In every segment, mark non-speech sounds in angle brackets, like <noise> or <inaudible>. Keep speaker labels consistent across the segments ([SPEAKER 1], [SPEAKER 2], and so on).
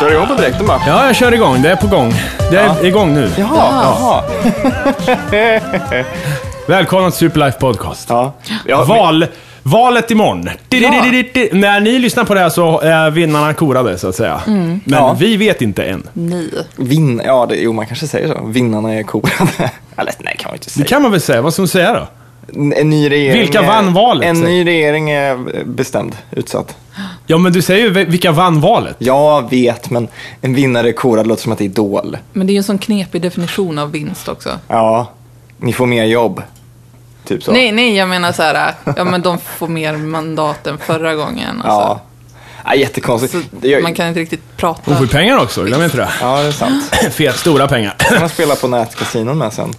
[SPEAKER 1] Kör igång på direkten bara.
[SPEAKER 2] Ja, jag kör igång. Det är på gång. Det är igång nu.
[SPEAKER 1] Jaha, jaha.
[SPEAKER 2] Välkomna till Superlife Podcast.
[SPEAKER 1] Ja. Ja, men-
[SPEAKER 2] Val, valet imorgon. Di-di-di-di-di. När ni lyssnar på det här så är vinnarna korade så att säga. Men
[SPEAKER 1] Mm. Ja.
[SPEAKER 2] vi vet inte än.
[SPEAKER 3] Ni.
[SPEAKER 1] Vinn, ja, det, jo, man kanske säger så. Vinnarna är korade. <laughs> Eller nej, kan man inte
[SPEAKER 2] Det
[SPEAKER 1] säga.
[SPEAKER 2] kan man väl säga. Vad ska man säga då?
[SPEAKER 1] En- En ny regering
[SPEAKER 2] Vilka
[SPEAKER 1] är-
[SPEAKER 2] vann valet,
[SPEAKER 1] En
[SPEAKER 2] säg?
[SPEAKER 1] ny regering är bestämd, utsatt.
[SPEAKER 2] Ja, men du säger ju ve- vilka vann valet.
[SPEAKER 1] Jag vet, men en vinnare är korad låter som att det är idol.
[SPEAKER 3] Men det är ju en sån knepig definition av vinst också.
[SPEAKER 1] Ja, ni får mer jobb. Typ så.
[SPEAKER 3] Nej, nej, jag menar så här, ja men de får mer mandat än förra gången.
[SPEAKER 1] Ja.
[SPEAKER 3] Alltså.
[SPEAKER 1] ja jättekonstigt.
[SPEAKER 3] Så
[SPEAKER 1] Det gör-
[SPEAKER 3] man kan inte riktigt prata.
[SPEAKER 2] De får ju pengar också, glöm inte det. <laughs>
[SPEAKER 1] Ja, det är sant.
[SPEAKER 2] Fet, stora pengar. <laughs>
[SPEAKER 1] kan man spela på nätkasinon med sen.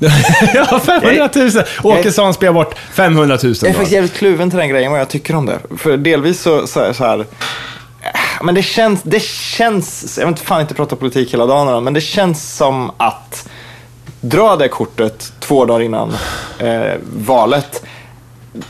[SPEAKER 2] ja, 500 000. Åkesson spelar bort 500 000.
[SPEAKER 1] Jag är faktiskt
[SPEAKER 2] Då.
[SPEAKER 1] jävligt kluven till den grejen, vad jag tycker om det. För delvis så, så, här, så här... äh, Men det känns, det känns, jag vill inte fan inte prata politik hela dagen, men det känns som att dra det kortet två dagar innan eh, valet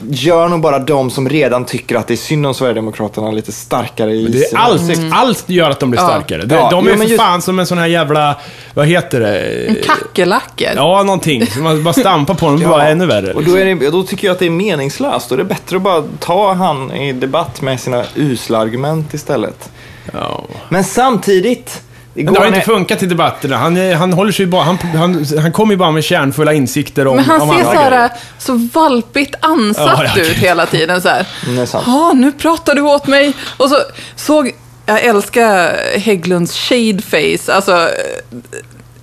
[SPEAKER 1] gör nog bara de som redan tycker att det är synd om Sverigedemokraterna lite starkare i
[SPEAKER 2] Det är
[SPEAKER 1] sina
[SPEAKER 2] allt,
[SPEAKER 1] åsikter.
[SPEAKER 2] allt gör att de blir
[SPEAKER 3] Ja.
[SPEAKER 2] starkare. De,
[SPEAKER 1] Mm. Ja,
[SPEAKER 2] de är
[SPEAKER 1] jo,
[SPEAKER 2] för
[SPEAKER 1] men just-
[SPEAKER 2] fan som en sån här jävla, vad heter det?
[SPEAKER 3] Kackerlackor.
[SPEAKER 2] Ja, någonting. Så Man bara stampar på dem, det
[SPEAKER 1] Ja,
[SPEAKER 2] bara ännu värre.
[SPEAKER 1] Och
[SPEAKER 2] liksom.
[SPEAKER 1] då, är det, då tycker jag att det är meningslöst. Då är det bättre att bara ta han i debatt med sina usla argument istället.
[SPEAKER 2] Ja.
[SPEAKER 1] Men samtidigt. Igår
[SPEAKER 2] Men det har
[SPEAKER 1] när-
[SPEAKER 2] inte funkat i debatterna. Han, är- han håller sig ju bara, han, han, han kommer ju bara med kärnfulla insikter om,
[SPEAKER 3] Men han
[SPEAKER 2] om
[SPEAKER 3] ser
[SPEAKER 2] andra
[SPEAKER 3] så här,
[SPEAKER 2] grejer.
[SPEAKER 3] så valpigt ansatt
[SPEAKER 2] Ja, ja.
[SPEAKER 3] ut hela tiden. Så här.
[SPEAKER 1] Det är sant.
[SPEAKER 3] Ja, nu pratar du åt mig. Och så såg, jag älskar Hägglunds shadeface. Alltså, eh,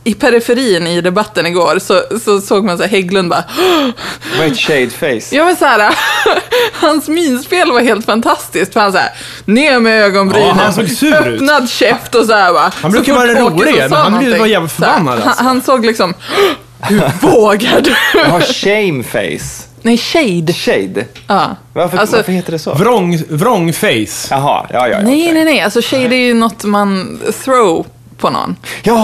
[SPEAKER 3] i periferin i debatten igår så, så såg man så här, Hägglund bara
[SPEAKER 1] Vad är ett shade face?
[SPEAKER 3] Jag var så här, <laughs> hans minspel var helt fantastiskt. För han så här, ner med ögonbrynen,
[SPEAKER 2] Ja, han såg sur ut.
[SPEAKER 3] öppnad käft och så här va.
[SPEAKER 2] Han brukar
[SPEAKER 3] Så fort
[SPEAKER 2] vara rolig,
[SPEAKER 3] Åkesson
[SPEAKER 2] men
[SPEAKER 3] sa
[SPEAKER 2] han blev-
[SPEAKER 3] någonting,
[SPEAKER 2] var jävligt
[SPEAKER 3] så här,
[SPEAKER 2] förbannad, alltså.
[SPEAKER 3] Han, han såg liksom, <gasps> hur vågar du?
[SPEAKER 1] Jag har shame face.
[SPEAKER 3] <laughs> Nej, shade.
[SPEAKER 1] Shade?
[SPEAKER 3] Ja.
[SPEAKER 1] Varför,
[SPEAKER 3] Alltså-
[SPEAKER 1] varför heter det så?
[SPEAKER 2] Vrång, vrångface.
[SPEAKER 1] Jaha, ja, ja, ja.
[SPEAKER 3] Nej,
[SPEAKER 1] okej.
[SPEAKER 3] nej, nej. Alltså shade är ju något man throw på någon.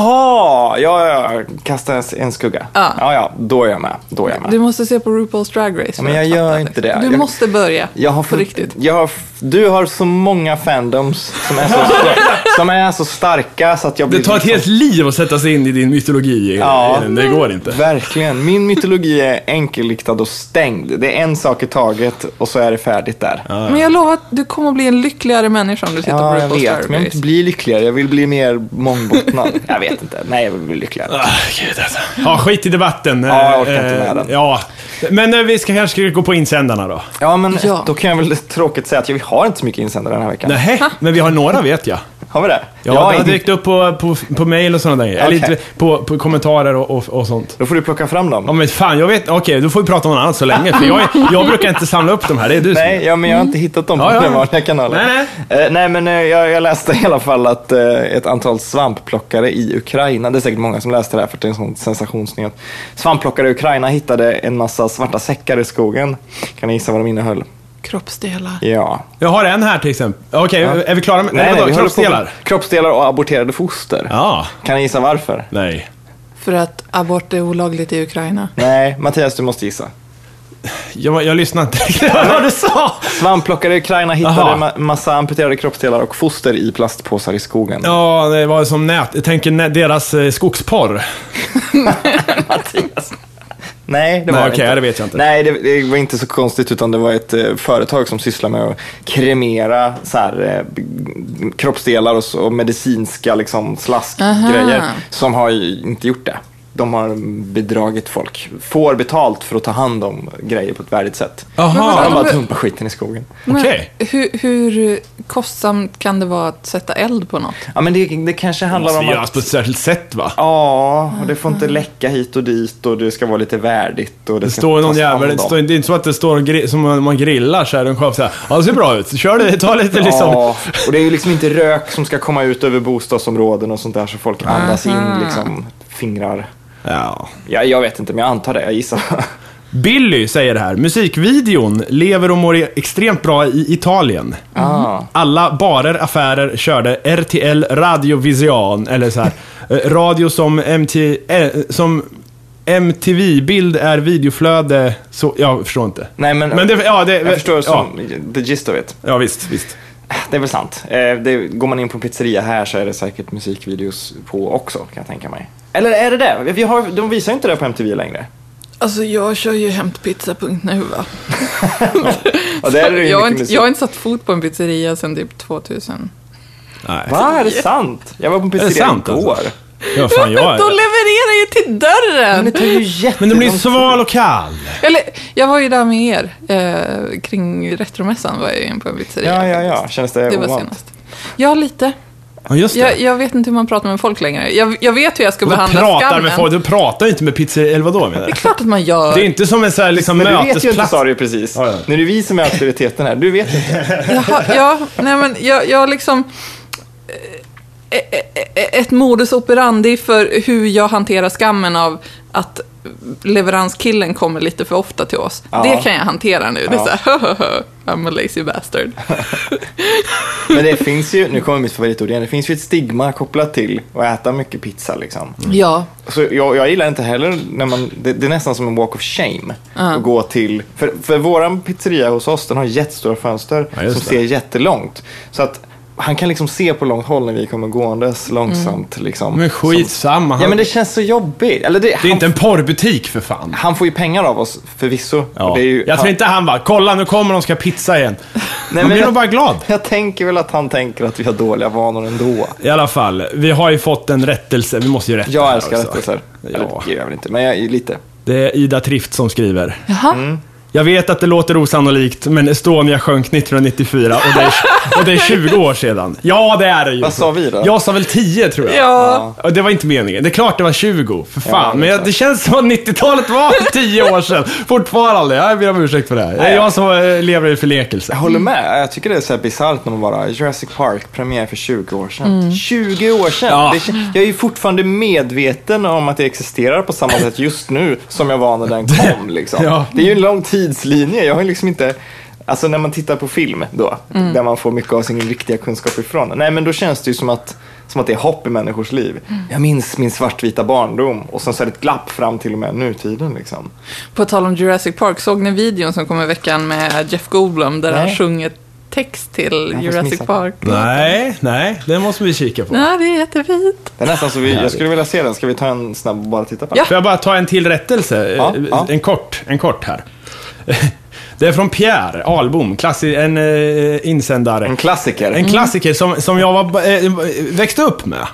[SPEAKER 1] Jaha, ja, ja, ja. kasta en, en skugga.
[SPEAKER 3] Ja.
[SPEAKER 1] ja, ja, då är jag med. Då är jag med.
[SPEAKER 3] Du måste se på RuPaul's Drag Race. för
[SPEAKER 1] men jag
[SPEAKER 3] att
[SPEAKER 1] gör
[SPEAKER 3] fatta
[SPEAKER 1] inte det.
[SPEAKER 3] Du
[SPEAKER 1] Jag-
[SPEAKER 3] måste börja.
[SPEAKER 1] Jag har
[SPEAKER 3] på riktigt.
[SPEAKER 1] Jag har, f- du har så många fandoms som är så,
[SPEAKER 2] <laughs>
[SPEAKER 1] som är så starka så att jag blir...
[SPEAKER 2] Det tar ett
[SPEAKER 1] liksom-
[SPEAKER 2] helt liv att sätta sig in i din mytologi.
[SPEAKER 1] Ja.
[SPEAKER 2] Ja. Det går inte.
[SPEAKER 1] Verkligen. Min mytologi är enkelriktad och stängd. Det är en sak i taget och så är det färdigt där.
[SPEAKER 3] Men jag lovar att du kommer att bli en lyckligare människa om du sitter
[SPEAKER 1] Ja,
[SPEAKER 3] på
[SPEAKER 1] jag
[SPEAKER 3] RuPaul's
[SPEAKER 1] vet. Men jag
[SPEAKER 3] Drag
[SPEAKER 1] vill inte
[SPEAKER 3] Race.
[SPEAKER 1] bli lyckligare. Jag vill bli mer mångbottnad.
[SPEAKER 2] <laughs>
[SPEAKER 1] jag vet inte. Nej, jag vill bli lyckligare.
[SPEAKER 2] Ah, gud alltså. Ja, skit i debatten.
[SPEAKER 1] Ja, jag orkar inte
[SPEAKER 2] Eh,
[SPEAKER 1] med den.
[SPEAKER 2] Ja. Men eh, vi ska kanske gå på insändarna då.
[SPEAKER 1] Ja, men
[SPEAKER 3] Ja.
[SPEAKER 1] då kan jag väl tråkigt säga att vi har inte så mycket insändare den här veckan.
[SPEAKER 2] Nej, men vi har några vet jag.
[SPEAKER 1] Har vi det?
[SPEAKER 2] Ja,
[SPEAKER 1] Jag
[SPEAKER 2] det har
[SPEAKER 1] inte-
[SPEAKER 2] dykt upp på, på, på mail och sådana där grejer. Eller
[SPEAKER 1] Okej.
[SPEAKER 2] inte, på, på kommentarer och, och, och sånt.
[SPEAKER 1] Då får du plocka fram dem.
[SPEAKER 2] Ja men fan, jag vet Okej, då får vi prata om något annat så länge. För jag,
[SPEAKER 1] <laughs>
[SPEAKER 2] är- jag brukar inte samla upp de här, det är du som
[SPEAKER 1] Nej, ja, men jag har inte hittat dem på
[SPEAKER 2] Mm. Ja, ja.
[SPEAKER 1] den vanliga kanalen.
[SPEAKER 2] Nej,
[SPEAKER 1] nej. nej men eh, jag, jag läste i alla fall att eh, ett antal svampplockare i Ukraina, det är säkert många som läste det här för det är en sån sensationsnyhet. Svampplockare i Ukraina hittade en massa svarta säckar i skogen. Kan ni gissa vad de innehöll?
[SPEAKER 3] Kroppsdelar.
[SPEAKER 1] Ja.
[SPEAKER 2] Jag har en här till exempel. Okej, är vi klara med... Nej, vadå,
[SPEAKER 1] vi håller på med
[SPEAKER 2] kroppsdelar?
[SPEAKER 1] Kroppsdelar och aborterade foster.
[SPEAKER 2] Ja.
[SPEAKER 1] Kan ni gissa varför?
[SPEAKER 2] Nej.
[SPEAKER 3] För att abort är olagligt i Ukraina.
[SPEAKER 1] Nej, Mattias du måste gissa.
[SPEAKER 2] Jag, jag lyssnade inte
[SPEAKER 1] <laughs>
[SPEAKER 2] riktigt på vad du sa.
[SPEAKER 1] Svampplockare i Ukraina hittade
[SPEAKER 2] Jaha.
[SPEAKER 1] ma- massa amputerade kroppsdelar och foster i plastpåsar i skogen.
[SPEAKER 2] Ja, det var som nät. Jag tänker nä- deras eh, skogsporr.
[SPEAKER 1] Nej, det
[SPEAKER 2] Nej,
[SPEAKER 1] var
[SPEAKER 2] okej,
[SPEAKER 1] inte.
[SPEAKER 2] det vet jag inte.
[SPEAKER 1] Nej, det, det var inte så konstigt utan det var ett eh, företag som sysslar med att kremera så här, eh, b- kroppsdelar och, så, och medicinska liksom, slaskgrejer
[SPEAKER 3] Aha.
[SPEAKER 1] som har ju inte gjort det. De har bedragit folk. Får betalt för att ta hand om grejer på ett värdigt sätt. Så
[SPEAKER 2] Jaha,
[SPEAKER 1] de bara
[SPEAKER 3] men-
[SPEAKER 1] dumpar skiten i skogen.
[SPEAKER 3] Men
[SPEAKER 2] Okej.
[SPEAKER 3] Hur, hur kostsamt kan det vara att sätta eld på något?
[SPEAKER 1] Ja, men det, det kanske
[SPEAKER 2] det
[SPEAKER 1] handlar
[SPEAKER 2] måste
[SPEAKER 1] om
[SPEAKER 2] göras
[SPEAKER 1] att...
[SPEAKER 2] på ett särskilt sätt va?
[SPEAKER 1] Ja, och det får inte läcka hit och dit och det ska vara lite värdigt. Och det
[SPEAKER 2] Det
[SPEAKER 1] ska
[SPEAKER 2] står någon
[SPEAKER 1] tas hand
[SPEAKER 2] jävel, det,
[SPEAKER 1] om.
[SPEAKER 2] står, det är inte så att det står en gri- som man man grillar så här, en chef såhär, ja det ser bra ut, kör det, ta lite <laughs> liksom.
[SPEAKER 1] Ja, och det är ju liksom inte rök som ska komma ut över bostadsområden och sånt där så folk andas in liksom fingrar.
[SPEAKER 2] Ja.
[SPEAKER 1] Ja, jag vet inte, men jag antar det. Jag gissar.
[SPEAKER 2] Mm. Billy säger det här, musikvideon lever och mår extremt bra i Italien.
[SPEAKER 1] <laughs> Ah.
[SPEAKER 2] Alla barer, affärer körde RTL Radiovision, eller så här, eh, radio som, MT, eh, som MTV-bild är videoflöde, så, jag förstår inte.
[SPEAKER 1] Nej, men,
[SPEAKER 2] Men det, ja, det,
[SPEAKER 1] jag förstår
[SPEAKER 2] ja,
[SPEAKER 1] som the gist of it.
[SPEAKER 2] ja, visst, visst.
[SPEAKER 1] det är väl sant. Eh, det, går man in på en pizzeria här så är det säkert musikvideos på också, kan jag tänka mig. Eller är det det? Vi har, de visar ju inte det på MTV längre.
[SPEAKER 3] Alltså jag kör ju hämtpizza.nu va.
[SPEAKER 1] Och där är det ju
[SPEAKER 3] jag, har
[SPEAKER 1] mycket
[SPEAKER 3] inte,
[SPEAKER 1] musik.
[SPEAKER 3] jag har inte satt fot på en pizzeria sedan typ 2000.
[SPEAKER 2] Nej.
[SPEAKER 1] Va, är det sant? Jag var på en
[SPEAKER 2] Är det
[SPEAKER 1] pizzeria
[SPEAKER 2] sant
[SPEAKER 1] igår.
[SPEAKER 2] alltså? Ja, fan jag
[SPEAKER 3] De
[SPEAKER 2] är.
[SPEAKER 3] levererar ju till dörren!
[SPEAKER 1] Men det tar ju
[SPEAKER 2] Men den blir
[SPEAKER 1] jättelång
[SPEAKER 2] sval och kall.
[SPEAKER 3] Eller, jag var ju där med er. Eh, kring Retromässan var jag ju in på en pizzeria.
[SPEAKER 1] Ja, ja, ja.
[SPEAKER 3] faktiskt.
[SPEAKER 1] Känns det,
[SPEAKER 3] Det var
[SPEAKER 1] ovant?
[SPEAKER 3] senast. Ja, lite.
[SPEAKER 2] Ja, just det.
[SPEAKER 3] Jag, jag vet inte hur man pratar med folk längre. Jag, jag vet hur jag ska
[SPEAKER 2] Du
[SPEAKER 3] behandla
[SPEAKER 2] pratar
[SPEAKER 3] skammen.
[SPEAKER 2] med folk, du pratar inte med pizzer... Eller vadå menar
[SPEAKER 3] Det
[SPEAKER 2] du?
[SPEAKER 3] är klart att man gör.
[SPEAKER 2] Det är inte som en sån här liksom
[SPEAKER 1] Men du vet ju inte,
[SPEAKER 2] mötesplats.
[SPEAKER 1] sa du ju precis.
[SPEAKER 2] Ja, ja.
[SPEAKER 1] Nu är det vi som är auktoriteten här. Du vet inte.
[SPEAKER 3] Jaha, ja, nej men jag, jag liksom... eh, eh, eh, Ett modus operandi för hur jag hanterar skammen av att leveranskillen kommer lite för ofta till oss.
[SPEAKER 1] Ja.
[SPEAKER 3] Det kan jag hantera nu. Det är
[SPEAKER 1] Ja.
[SPEAKER 3] så här, <laughs> "Hahaha, I'm a lazy bastard.
[SPEAKER 1] Men det finns ju, nu kommer mitt favoritord igen, det finns ju ett stigma kopplat till att äta mycket pizza liksom.
[SPEAKER 3] Ja,
[SPEAKER 1] Så jag, jag gillar inte heller när man, det, det är nästan som en walk of shame. Att gå till, för, för våran pizzeria hos oss den har jättestora fönster
[SPEAKER 2] Ja, just
[SPEAKER 1] som
[SPEAKER 2] det.
[SPEAKER 1] ser jättelångt. Så att han kan liksom se på långt håll när vi kommer gåendes långsamt. Liksom.
[SPEAKER 2] Men
[SPEAKER 1] Som,
[SPEAKER 2] skitsamma.
[SPEAKER 1] ja men det
[SPEAKER 2] det,
[SPEAKER 1] känns så jobbigt. Eller det,
[SPEAKER 2] det är
[SPEAKER 1] han,
[SPEAKER 2] inte en porrbutik för fan.
[SPEAKER 1] han får ju pengar av oss förvisso.
[SPEAKER 2] Ja.
[SPEAKER 1] Och det är ju,
[SPEAKER 2] jag tror
[SPEAKER 1] han-
[SPEAKER 2] inte han bara, kolla nu kommer de ska ha pizza igen.
[SPEAKER 1] Nej,
[SPEAKER 2] han
[SPEAKER 1] men
[SPEAKER 2] blir
[SPEAKER 1] jag-
[SPEAKER 2] nog bara glad.
[SPEAKER 1] Jag tänker väl att han tänker att vi har dåliga vanor ändå.
[SPEAKER 2] I alla fall, vi har ju fått en rättelse. Vi måste ju rätta det
[SPEAKER 1] Jag
[SPEAKER 2] här
[SPEAKER 1] älskar
[SPEAKER 2] också.
[SPEAKER 1] rättelser. Eller
[SPEAKER 2] alltså. Ja.
[SPEAKER 1] det gör jag väl inte, men jag, lite.
[SPEAKER 2] Det är Ida Trift som skriver.
[SPEAKER 3] jaha.
[SPEAKER 1] Mm.
[SPEAKER 2] Jag vet att det låter osannolikt, men Estonia sjönk 1994 och det är, och det är 20 år sedan. Ja, det är det ju.
[SPEAKER 1] Vad sa vi då?
[SPEAKER 2] Jag sa väl 10 tror jag.
[SPEAKER 3] Ja.
[SPEAKER 2] Och Det var inte meningen. Det är klart det var 20, för fan.
[SPEAKER 1] Ja, det är
[SPEAKER 2] men jag,
[SPEAKER 1] klart.
[SPEAKER 2] det känns som att 90-talet var 10 år sedan. Fortfarande. Jag ber om ursäkt för det här. Det är jag som eh, lever i förlekelse.
[SPEAKER 1] Jag håller med. Jag tycker det är så här bisarrt när man bara, Jurassic Park, premiär för 20 år sedan. 20 år sedan!
[SPEAKER 2] Ja.
[SPEAKER 1] Det, kän- jag är ju fortfarande medveten om att det existerar på samma sätt just nu som jag var när den kom. Liksom.
[SPEAKER 2] Ja.
[SPEAKER 1] Det är ju en lång tidslinje. Jag har ju liksom inte... Alltså när man tittar på film då, där man får mycket av sin riktiga kunskap ifrån. Nej men då känns det ju som att, som att det är hopp i människors liv. Jag minns min svartvita barndom och sen så är det ett glapp fram till och med nutiden liksom.
[SPEAKER 3] På tal om Jurassic Park, såg ni videon som kom i veckan med Jeff Goldblum där
[SPEAKER 1] Nej.
[SPEAKER 3] han sjunger text till
[SPEAKER 1] måste
[SPEAKER 3] Jurassic
[SPEAKER 1] missa.
[SPEAKER 3] Park?
[SPEAKER 2] Nej, nej. Det måste vi kika på.
[SPEAKER 3] Nej, det är jättefint.
[SPEAKER 1] Det är nästan så vi, jag skulle vilja se den. Ska vi ta en snabb och bara titta på den?
[SPEAKER 3] Ja.
[SPEAKER 2] Får jag bara ta en till rättelse?
[SPEAKER 1] Ja,
[SPEAKER 2] Eh,
[SPEAKER 1] ja.
[SPEAKER 2] En kort, en kort här. <laughs> Det är från Pierre Ahlbom, klassi- en eh, insändare.
[SPEAKER 1] En klassiker.
[SPEAKER 2] En klassiker som, som jag var, eh, växte upp med.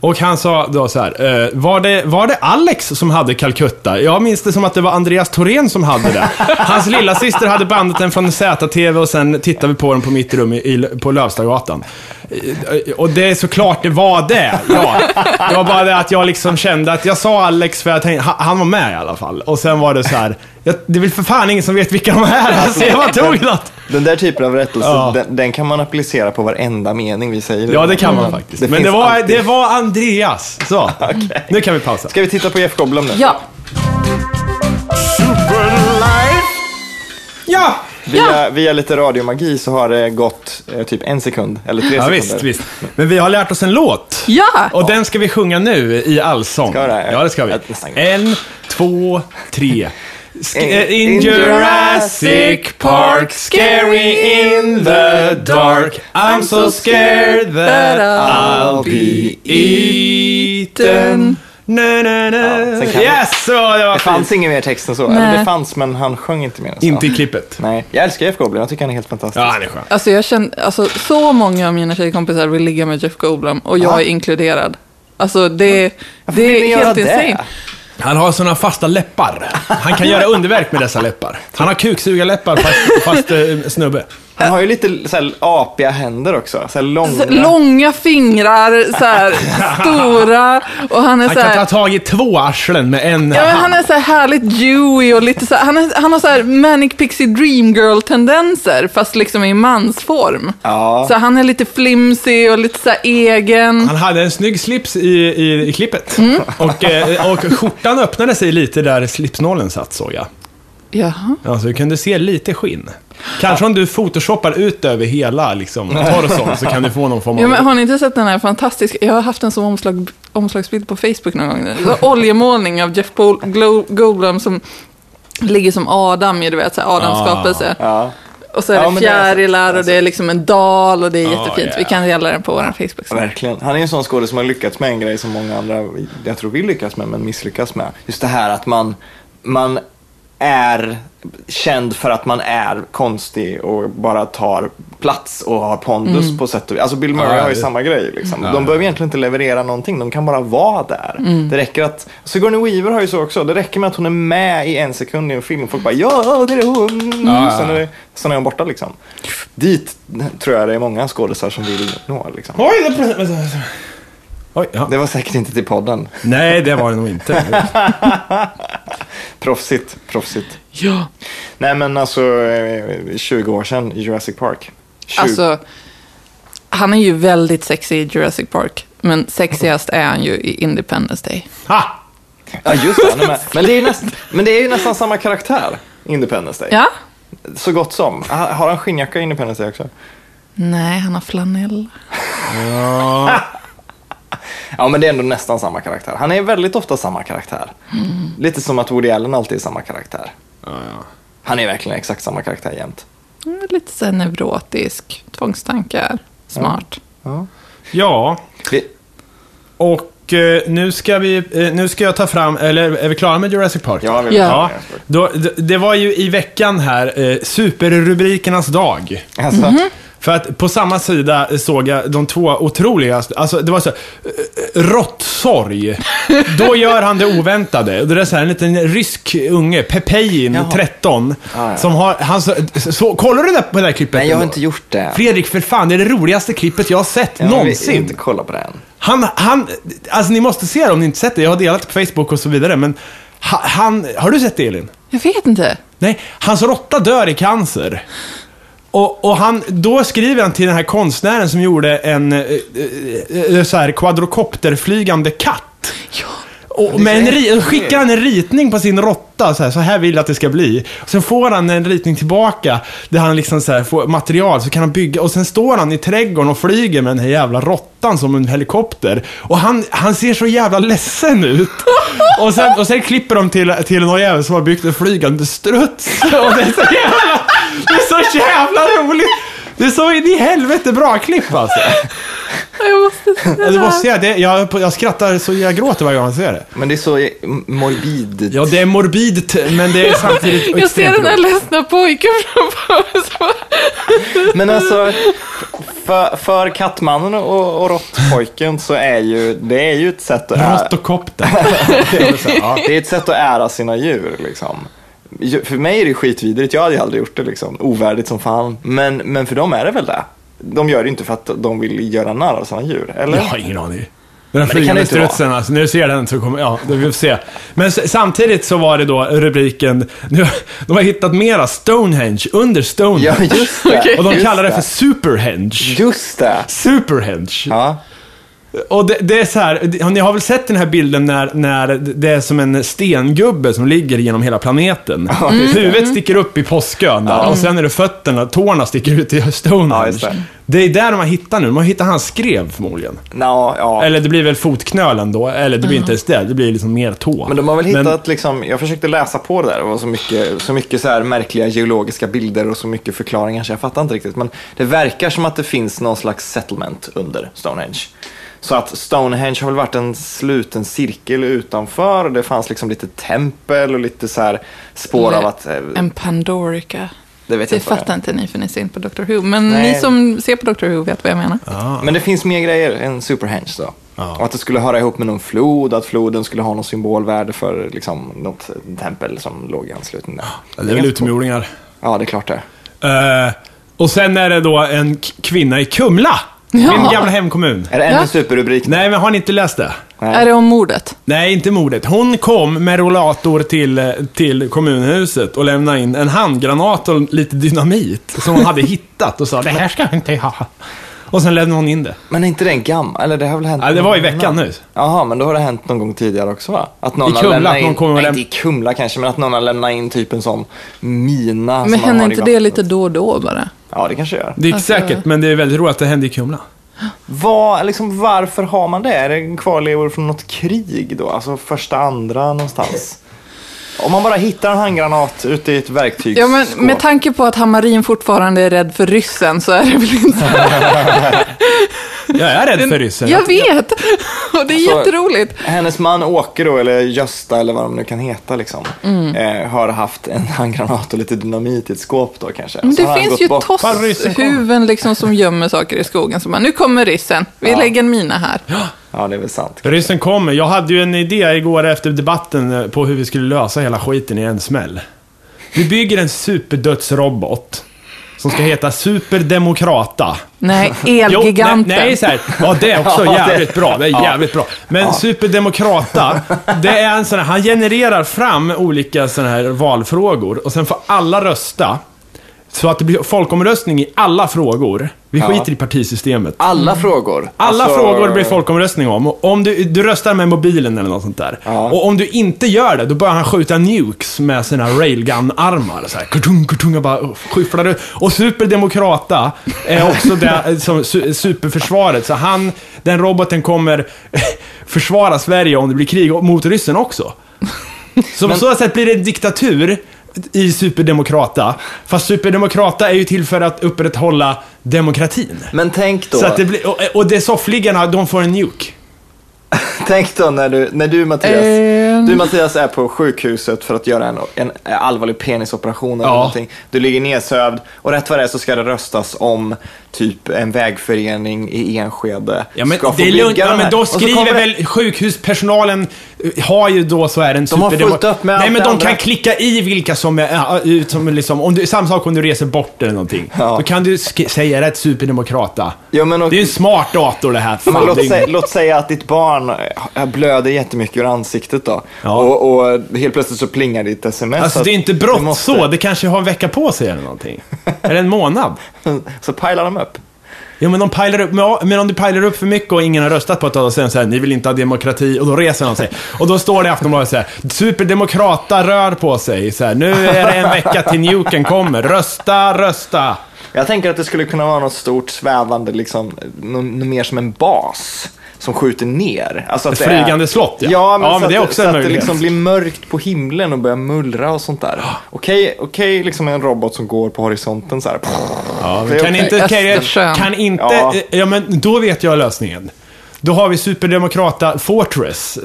[SPEAKER 2] Och han sa då så här, eh, var, det, var det Alex som hade Calcutta? Jag minns det som att det var Andreas Thorén som hade det. Hans lilla syster hade bandat den från ZTV och sen tittade vi på den på mitt rum i, i, på Lövstagatan. Eh, Och det är såklart det var det. Ja. Det var bara det att jag liksom kände att jag sa Alex för jag tänkte, han- han var med i alla fall. Och sen var det så här, jag, det är väl för fan ingen som vet vilka de är. Alltså, jag bara tog något.
[SPEAKER 1] Den där typen av rättelse,
[SPEAKER 2] Ja.
[SPEAKER 1] den, den kan man applicera på varenda mening vi säger.
[SPEAKER 2] Ja, det kan man faktiskt. Men
[SPEAKER 1] finns
[SPEAKER 2] Mm. det var,
[SPEAKER 1] alltid.
[SPEAKER 2] det var Andreas. Så, nu kan vi pausa.
[SPEAKER 1] Ska vi titta på Jeff Goldblum nu?
[SPEAKER 3] Ja,
[SPEAKER 2] Ja!
[SPEAKER 1] Via, via lite radiomagi så har det gått eh, typ en sekund, eller tre
[SPEAKER 2] Ja,
[SPEAKER 1] sekunder.
[SPEAKER 2] visst, visst. Men vi har lärt oss en låt.
[SPEAKER 3] ja!
[SPEAKER 2] Och den ska vi sjunga nu i allsång.
[SPEAKER 1] Ska vi det?
[SPEAKER 2] Ja, det ska vi.
[SPEAKER 1] Jag- jag snackar.
[SPEAKER 2] En, två, tre. Sk-
[SPEAKER 1] In-
[SPEAKER 2] eh, in
[SPEAKER 1] in
[SPEAKER 2] Jurassic Park, scary in the dark I'm so scared that I'll be eaten na, na,
[SPEAKER 1] Ja,
[SPEAKER 2] na.
[SPEAKER 1] sen kan-
[SPEAKER 2] Yes, så det var
[SPEAKER 1] Det fanns ingen mer text än så. Eller
[SPEAKER 3] Nej.
[SPEAKER 1] det fanns, men han sjöng inte mer än så.
[SPEAKER 2] Inte i klippet.
[SPEAKER 1] Nej, jag älskar Jeff Goldblum. Jag tycker han är helt fantastisk.
[SPEAKER 2] Ja, han är skön.
[SPEAKER 3] Alltså jag känner, alltså så många av mina tjejkompisar vill ligga med Jeff Goldblum och jag
[SPEAKER 1] Ja.
[SPEAKER 3] är inkluderad. Alltså det, det
[SPEAKER 1] vill ni
[SPEAKER 3] är
[SPEAKER 1] göra
[SPEAKER 3] helt
[SPEAKER 1] det?
[SPEAKER 3] insane.
[SPEAKER 2] Han har såna fasta läppar. Han kan göra underverk med dessa läppar. Han har kuksugarläppar fast, fast eh, snubbe.
[SPEAKER 1] Han har ju lite så här, apiga händer också. Så här, långa.
[SPEAKER 3] Så, långa fingrar,
[SPEAKER 1] <laughs>
[SPEAKER 3] så här, stora och han är
[SPEAKER 2] Han
[SPEAKER 3] så
[SPEAKER 2] kan
[SPEAKER 3] här,
[SPEAKER 2] ta tag i två arslen med en
[SPEAKER 3] Alltså- ja, men
[SPEAKER 2] hand.
[SPEAKER 3] han är så här härligt dewy och lite så här, han, är, han har så här Manic Pixie Dream Girl tendenser fast liksom i mansform.
[SPEAKER 1] Ja.
[SPEAKER 3] Så han är lite flimsy och lite så här egen.
[SPEAKER 2] Han hade en snygg slips i, i, i klippet. Och, eh, och skjortan öppnade sig lite där slipsnålen satt såg jag.
[SPEAKER 3] Jaha.
[SPEAKER 2] Alltså, du kunde se lite skinn. Kanske om du photoshoppar ut över hela liksom, torson så kan du få någon form av...
[SPEAKER 3] Ja, men har ni inte sett den här fantastiska, jag har haft den som omslag, omslagsbild på Facebook någon gång. Det var oljemålning av Jeff Bol- Glo- Goldblum som ligger som Adam i du vet, så här Adams
[SPEAKER 2] Ah.
[SPEAKER 3] skapelse.
[SPEAKER 1] Ja.
[SPEAKER 3] Och så är
[SPEAKER 1] Ja,
[SPEAKER 3] det
[SPEAKER 1] men det har jag sett.
[SPEAKER 3] fjärilar och det är liksom en dal och det är
[SPEAKER 2] Ja,
[SPEAKER 3] jättefint. Vi
[SPEAKER 2] ja.
[SPEAKER 3] kan dela den på vår Facebook.
[SPEAKER 1] Verkligen. Han är ju en sån skådespelare som har lyckats med en grej som många andra, jag tror vill lyckas med, men misslyckas med. Just det här att man, man är känd för att man är konstig och bara tar plats och har pondus på sätt och vis. Alltså Bill Murray
[SPEAKER 2] Mm. Ja,
[SPEAKER 1] har ju
[SPEAKER 2] det-
[SPEAKER 1] samma grej. Liksom.
[SPEAKER 2] Ja. Mm.
[SPEAKER 1] De behöver egentligen inte leverera någonting, de kan bara vara där. Det räcker att, Sigourney Weaver har ju så också, det räcker med att hon är med i en sekund i en film. Folk bara ja, det är hon.
[SPEAKER 2] Ja, ja.
[SPEAKER 1] Sen, är det, sen är hon borta liksom. Dit tror jag det är många skådespelare som vill nå. Liksom.
[SPEAKER 2] Oj, det... vänta, vänta. Oj, ja.
[SPEAKER 1] Det var säkert inte till podden.
[SPEAKER 2] Nej, det var det nog inte.
[SPEAKER 1] Proffsigt, proffsigt.
[SPEAKER 3] Ja.
[SPEAKER 1] Nej men alltså, eh, 20 år sedan i Jurassic Park. 20.
[SPEAKER 3] Alltså, han är ju väldigt sexig i Jurassic Park. Men sexigast är han ju i Independence Day.
[SPEAKER 2] Ha!
[SPEAKER 1] Ja just
[SPEAKER 3] <laughs>
[SPEAKER 1] det, han är med. Men det är ju nästan, men det är ju nästan samma karaktär, Independence Day.
[SPEAKER 3] Ja?
[SPEAKER 1] Så gott som. Ha- Har han skinnjacka i Independence Day också?
[SPEAKER 3] Nej, han har flanell.
[SPEAKER 1] Ja men det är ändå nästan samma karaktär. Han är väldigt ofta samma karaktär.
[SPEAKER 3] Mm.
[SPEAKER 1] Lite som att Woody Allen alltid är samma karaktär.
[SPEAKER 2] Ja, ja.
[SPEAKER 1] Han är verkligen exakt samma karaktär jämt.
[SPEAKER 3] Mm, Lite så här neurotisk, tvångstankar, smart.
[SPEAKER 2] ja.
[SPEAKER 1] Vi-
[SPEAKER 2] Och eh, nu ska vi, eh, nu ska jag ta fram, eller är vi klara med Jurassic Park?
[SPEAKER 1] Ja, vi
[SPEAKER 3] Ja.
[SPEAKER 2] Då, d- det var ju i veckan här, eh, superrubrikernas dag.
[SPEAKER 1] Alltså,
[SPEAKER 3] Mhm.
[SPEAKER 2] För att på samma sida eh, såg jag de två otroliga, alltså det var så här, eh,
[SPEAKER 1] <laughs>
[SPEAKER 2] råttsorg. Då gör han det oväntade. Och Det är så här en liten rysk unge, Pepejin,
[SPEAKER 1] Jaha. Ah,
[SPEAKER 2] 13,
[SPEAKER 1] Ja, ja.
[SPEAKER 2] som har, han så, så, kollar du där på det där klippet?
[SPEAKER 1] Nej jag har
[SPEAKER 2] ändå?
[SPEAKER 1] inte gjort det.
[SPEAKER 2] Fredrik, för fan, det är det roligaste klippet jag har sett
[SPEAKER 1] Jag
[SPEAKER 2] någonsin.
[SPEAKER 1] vill inte kolla på det än.
[SPEAKER 2] Han, han, alltså ni måste se det om ni inte sett det. Jag har delat det på Facebook och så vidare, men ha- han, har du sett det Elin?
[SPEAKER 3] Jag vet inte.
[SPEAKER 2] Nej, hans råtta dör i cancer. Och, och han, då skriver han till den här konstnären som gjorde en eh, eh, eh, så här kvadrokopterflygande katt.
[SPEAKER 3] Ja.
[SPEAKER 2] Och,
[SPEAKER 1] är
[SPEAKER 2] med en
[SPEAKER 1] så
[SPEAKER 2] ri-
[SPEAKER 1] äckligt.
[SPEAKER 2] skickar han en ritning på sin råtta, så här, så här vill jag att det ska bli. Sen får han en ritning tillbaka, där han liksom så här, får material, så kan han bygga. Och sen står han i trädgården och flyger med den här jävla råttan som en helikopter. Och han, han ser så jävla ledsen ut. Och sen, och sen klipper de till, till någon jävel som har byggt en flygande struts. <laughs> Och det är så jävla, det är så jävla roligt. Det är så in i helvete bra klipp alltså.
[SPEAKER 3] Jag <laughs> måste se det
[SPEAKER 2] Ja, det
[SPEAKER 3] här.
[SPEAKER 2] måste jag, det, jag, jag skrattar så jag gråter varje gång jag ser det.
[SPEAKER 1] Men det är så eh, morbid.
[SPEAKER 2] Ja, det är morbidt, men det är samtidigt
[SPEAKER 3] Jag ser
[SPEAKER 2] extremt
[SPEAKER 3] den där
[SPEAKER 2] roligt.
[SPEAKER 3] ledsna pojken framför mig. som-
[SPEAKER 1] Men alltså, för, för kattmannen och, och råttpojken så är ju det är ju ett sätt att ära,
[SPEAKER 2] Rottokopter.
[SPEAKER 1] det är ett sätt att ära sina djur. Liksom. Ju- För mig är det skitvidrigt, jag hade ju aldrig gjort det. Liksom. Ovärdigt som fan. Men, men för dem är det väl det. De gör det inte för att de vill göra narr av sina djur, eller?
[SPEAKER 2] Jag har ingen aning. Den där
[SPEAKER 1] det kan det
[SPEAKER 2] flygande
[SPEAKER 1] inte vara.
[SPEAKER 2] strutsen alltså, när du ser den så kommer, ja, det vi får se. Men s- samtidigt så var det då rubriken, nu, de har hittat mera Stonehenge under Stonehenge.
[SPEAKER 1] Ja, just det.
[SPEAKER 2] <laughs> och de
[SPEAKER 1] just
[SPEAKER 2] kallar det för Superhenge.
[SPEAKER 1] Just det!
[SPEAKER 2] Superhenge.
[SPEAKER 1] Ja.
[SPEAKER 2] Och det, det är så här, det- ni har väl sett den här bilden när, när det är som en stengubbe som ligger genom hela
[SPEAKER 1] <laughs>
[SPEAKER 2] planeten.
[SPEAKER 1] Mm.
[SPEAKER 2] Huvudet sticker upp i påskön där, och sen är det fötterna, tårna sticker ut i
[SPEAKER 1] Ja,
[SPEAKER 2] Stonehenge.
[SPEAKER 1] just det.
[SPEAKER 2] det är där de har hittat nu, de har hittat hans skrev förmodligen.
[SPEAKER 1] Nå, ja.
[SPEAKER 2] Eller det blir väl fotknölen då, eller det blir inte ens det, det blir liksom mer tå.
[SPEAKER 1] Men de har väl
[SPEAKER 2] Men-
[SPEAKER 1] hittat, liksom, jag försökte läsa på det där, det var så mycket, så mycket så här märkliga geologiska bilder och så mycket förklaringar så jag fattar inte riktigt. Men det verkar som att det finns någon slags settlement under Stonehenge. Så att Stonehenge har väl varit en sluten cirkel utanför och det fanns liksom lite tempel och lite så här spår av att... eh,
[SPEAKER 3] En Pandorica.
[SPEAKER 1] Det vet jag
[SPEAKER 3] det
[SPEAKER 1] inte vad det
[SPEAKER 3] fattar inte ni för ni ser inte på Doctor Who. Men
[SPEAKER 1] Nej.
[SPEAKER 3] ni som ser på Doctor Who vet vad jag menar.
[SPEAKER 1] Men det finns mer grejer än Superhenge då. Och att det skulle höra ihop med någon flod, att floden skulle ha någon symbolvärde för liksom, något tempel som låg i anslutning där.
[SPEAKER 2] Det är väl utomjordingar.
[SPEAKER 1] Ja, det är klart det.
[SPEAKER 2] Eh, och sen är det då en k- kvinna i Kumla, min
[SPEAKER 3] Ja.
[SPEAKER 2] gamla hemkommun.
[SPEAKER 1] Är det ännu
[SPEAKER 3] Ja.
[SPEAKER 1] superrubrik?
[SPEAKER 2] Nej, men har ni inte läst det?
[SPEAKER 1] Nej.
[SPEAKER 3] Är det om
[SPEAKER 1] Alltså,
[SPEAKER 3] mordet?
[SPEAKER 2] Nej, inte mordet. Hon kom med rollator till, till kommunhuset och lämnade in en handgranat och lite dynamit som hon
[SPEAKER 3] <laughs>
[SPEAKER 2] hade hittat och sa det här ska jag inte ha. Och sen lämnade hon in det.
[SPEAKER 1] Men är inte den gammal? Eller det har väl hänt?
[SPEAKER 2] Ja, det
[SPEAKER 1] någon
[SPEAKER 2] var i
[SPEAKER 1] gång
[SPEAKER 2] veckan
[SPEAKER 1] innan?
[SPEAKER 2] nu.
[SPEAKER 1] Jaha, men då har det hänt någon gång tidigare också va? Att någon
[SPEAKER 2] I
[SPEAKER 1] har
[SPEAKER 2] Kumla,
[SPEAKER 1] lämnat
[SPEAKER 2] att någon
[SPEAKER 1] in...
[SPEAKER 2] kommer och
[SPEAKER 1] Nej,
[SPEAKER 2] läm-
[SPEAKER 1] inte i Kumla kanske, men att någon har lämnat in typ en sån mina
[SPEAKER 3] Men
[SPEAKER 1] som man
[SPEAKER 3] händer
[SPEAKER 1] har i
[SPEAKER 3] inte det
[SPEAKER 1] vattnet.
[SPEAKER 3] lite då och då bara?
[SPEAKER 1] Ja, det kanske gör.
[SPEAKER 2] Det gick
[SPEAKER 3] Alltså-
[SPEAKER 2] säkert, men det är väldigt roligt att det hände i Kumla.
[SPEAKER 1] Vad, liksom, varför har man det? Är det en kvarlevor från något krig då? Alltså första, andra någonstans? Om man bara hittar en handgranat ute i ett verktygsskåp.
[SPEAKER 3] Ja, men med tanke på att Hammarin fortfarande är rädd för ryssen så är det väl inte...
[SPEAKER 2] Jag är rädd för ryssen.
[SPEAKER 3] Jag vet! Och det är
[SPEAKER 1] Så-
[SPEAKER 3] jätteroligt.
[SPEAKER 1] Hennes man Åke då, eller Gösta eller vad de nu kan heta, liksom,
[SPEAKER 3] Mm.
[SPEAKER 1] eh, har haft en <laughs> handgranat och lite dynamit i ett skåp då kanske.
[SPEAKER 3] Men
[SPEAKER 1] Så har
[SPEAKER 3] det
[SPEAKER 1] alltså, han
[SPEAKER 3] finns
[SPEAKER 1] gått
[SPEAKER 3] ju
[SPEAKER 1] bort.
[SPEAKER 2] Fan, ryssen kom.
[SPEAKER 3] tosshuvuden liksom som gömmer saker i skogen. Så bara, nu kommer ryssen, vi lägger en mina här.
[SPEAKER 1] Ja, det är väl sant.
[SPEAKER 2] Ryssen kommer. Jag hade ju en idé igår efter debatten eh, på hur vi skulle lösa hela skiten i en smäll. Vi bygger en superdödsrobot. Som ska heta Superdemokrata.
[SPEAKER 3] Nej,
[SPEAKER 2] Jo,
[SPEAKER 3] Elgiganten.
[SPEAKER 2] Nej, nej så här. Ja, det är också
[SPEAKER 1] <laughs> Ja, det-
[SPEAKER 2] jävligt bra. Det är jävligt bra. Men Superdemokrata, det är en sån här, han genererar fram olika såna här valfrågor och sen får alla rösta. Så att det blir folkomröstning i alla frågor. Vi
[SPEAKER 1] Ja.
[SPEAKER 2] skiter i partisystemet.
[SPEAKER 1] Alla
[SPEAKER 3] Mm.
[SPEAKER 1] frågor.
[SPEAKER 2] Alla
[SPEAKER 1] Alltså-
[SPEAKER 2] frågor blir folkomröstning om. Och Om du, du röstar med mobilen eller något sånt där.
[SPEAKER 1] Ja.
[SPEAKER 2] Och om du inte gör det, då börjar han skjuta nukes med sina railgun-armar. Så här, kurtung, kurtung, och bara skyfflar ut. Och superdemokrata är också det, eh, som su- superförsvaret. Så han, den roboten kommer <laughs> försvara Sverige om det blir krig och mot ryssen också. Så på så sätt blir det en diktatur i superdemokrata. Fast superdemokrata är ju till för att upprätthålla demokratin.
[SPEAKER 1] Men tänk då,
[SPEAKER 2] Så att det blir, och, och det soffliggarna, de får en nuke.
[SPEAKER 1] tänk då när du, när du Mattias,
[SPEAKER 3] Ehm.
[SPEAKER 1] du Mattias är på sjukhuset för att göra en, en allvarlig penisoperation eller
[SPEAKER 2] Ja.
[SPEAKER 1] någonting. Du ligger nedsövd och rätt vad det är så ska det röstas om typ en vägförening i Enskede ska få
[SPEAKER 2] det är
[SPEAKER 1] bygga
[SPEAKER 2] lugnt.
[SPEAKER 1] de
[SPEAKER 2] Ja,
[SPEAKER 1] här.
[SPEAKER 2] men då
[SPEAKER 1] Och så
[SPEAKER 2] skriver
[SPEAKER 1] kommer det-
[SPEAKER 2] väl sjukhuspersonalen, eh, har ju då så är en
[SPEAKER 1] De har
[SPEAKER 2] superdemo-
[SPEAKER 1] fullt upp
[SPEAKER 2] Nej,
[SPEAKER 1] med allt
[SPEAKER 2] men
[SPEAKER 1] det
[SPEAKER 2] de
[SPEAKER 1] andra.
[SPEAKER 2] kan klicka i vilka som är, ja, ut som liksom, om du, samma sak om du reser bort eller någonting.
[SPEAKER 1] Ja.
[SPEAKER 2] Då kan du sk- säga rätt superdemokrata.
[SPEAKER 1] Ja, men och-
[SPEAKER 2] Det är ju en smart dator det här.
[SPEAKER 1] Men
[SPEAKER 2] Fan, det
[SPEAKER 1] låt,
[SPEAKER 2] är-
[SPEAKER 1] säga, låt säga att ditt barn eh, blöder jättemycket ur ansiktet då.
[SPEAKER 2] Ja.
[SPEAKER 1] Och, och helt plötsligt så plingar ditt sms.
[SPEAKER 2] Alltså
[SPEAKER 1] att
[SPEAKER 2] det är inte
[SPEAKER 1] du
[SPEAKER 2] brått
[SPEAKER 1] måste-
[SPEAKER 2] så, det kanske har en vecka på sig eller någonting. Eller en månad.
[SPEAKER 1] <laughs> Så pilar de upp.
[SPEAKER 2] Ja, men, de pilar upp, men- men om du pilar upp för mycket och ingen har röstat på ett tag, och säger de så här, ni vill inte ha demokrati, och då reser de sig. Och då står det i Aftonbladet så här, superdemokrata rör på sig, så här, nu är det en vecka till nuken kommer, rösta, rösta.
[SPEAKER 1] Jag tänker att det skulle kunna vara något stort svävande, liksom, nå- något mer som en bas som skjuter ner. Alltså att
[SPEAKER 2] Ett
[SPEAKER 1] det är-
[SPEAKER 2] flygande slott, ja.
[SPEAKER 1] Ja, men,
[SPEAKER 2] Ja,
[SPEAKER 1] så,
[SPEAKER 2] men det är
[SPEAKER 1] att,
[SPEAKER 2] också
[SPEAKER 1] så
[SPEAKER 2] en
[SPEAKER 1] att det
[SPEAKER 2] möjlighet.
[SPEAKER 1] liksom blir mörkt på himlen och börjar mullra och
[SPEAKER 2] <gasps>
[SPEAKER 1] sånt där. Okej, okej liksom en robot som går på horisonten så här.
[SPEAKER 2] Ja,
[SPEAKER 1] Det är
[SPEAKER 2] kan,
[SPEAKER 1] okej.
[SPEAKER 2] inte, kan,
[SPEAKER 3] Östersjön.
[SPEAKER 2] kan inte,
[SPEAKER 1] Ja.
[SPEAKER 2] ja. men då vet jag lösningen. Då har vi superdemokrata Fortress.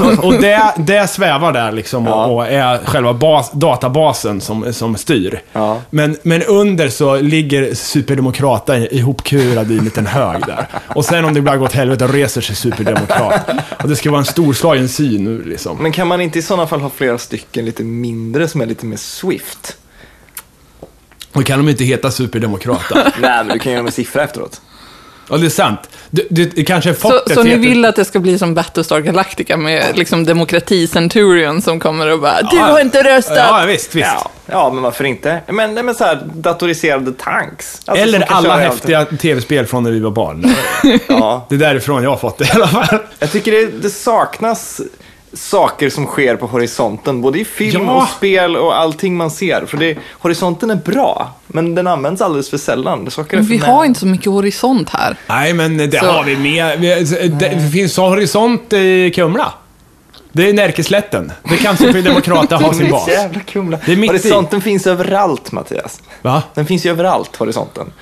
[SPEAKER 2] Och- Och det, det svävar där liksom och, och är själva bas, databasen som, som styr.
[SPEAKER 1] Ja.
[SPEAKER 2] Men, men under så ligger superdemokrata ihopkurad i en liten hög där. Och sen om det bara går åt helvete reser sig superdemokrat. Och det ska vara en storslagen syn nu liksom.
[SPEAKER 1] Men kan man inte i sådana fall ha flera stycken lite mindre som är lite mer swift?
[SPEAKER 2] Då kan de inte heta superdemokrata.
[SPEAKER 1] Nej, men du kan göra med siffra efteråt.
[SPEAKER 2] Ja, det är sant. Du, du, det kanske
[SPEAKER 3] Så,
[SPEAKER 2] fortet
[SPEAKER 3] så ni
[SPEAKER 2] heter-
[SPEAKER 3] vill att det ska bli som Battlestar Galactica med liksom demokrati Centurion som kommer och bara Du har inte röstat!
[SPEAKER 2] Ja, visst, visst.
[SPEAKER 1] Ja, ja, men varför inte? Men, nej, men så här, datoriserade tanks. Alltså, som
[SPEAKER 2] Eller
[SPEAKER 1] kan
[SPEAKER 2] alla
[SPEAKER 1] köra i
[SPEAKER 2] häftiga tv-spel från när vi var barn.
[SPEAKER 1] allting. Ja.
[SPEAKER 2] Det är därifrån jag har fått det i alla fall.
[SPEAKER 1] Jag tycker det, det saknas saker som sker på horisonten, både i film
[SPEAKER 2] Ja.
[SPEAKER 1] och spel och allting man ser. För det, horisonten är bra, men den används alldeles för sällan. Saker är för
[SPEAKER 3] Vi har inte så mycket horisont här.
[SPEAKER 2] Nej, men det
[SPEAKER 3] Så-
[SPEAKER 2] har vi med. Vi- alltså, Det, det finns så horisont i Kumla. Det är Närkeslätten. Det kan Sofiedemokraterna
[SPEAKER 1] <laughs>
[SPEAKER 2] ha sin bas.
[SPEAKER 1] Jävla kumla.
[SPEAKER 2] Det är mitt i.
[SPEAKER 1] horisonten finns överallt, Mattias.
[SPEAKER 2] Va?
[SPEAKER 1] Den finns ju
[SPEAKER 2] <laughs>
[SPEAKER 1] överallt, horisonten.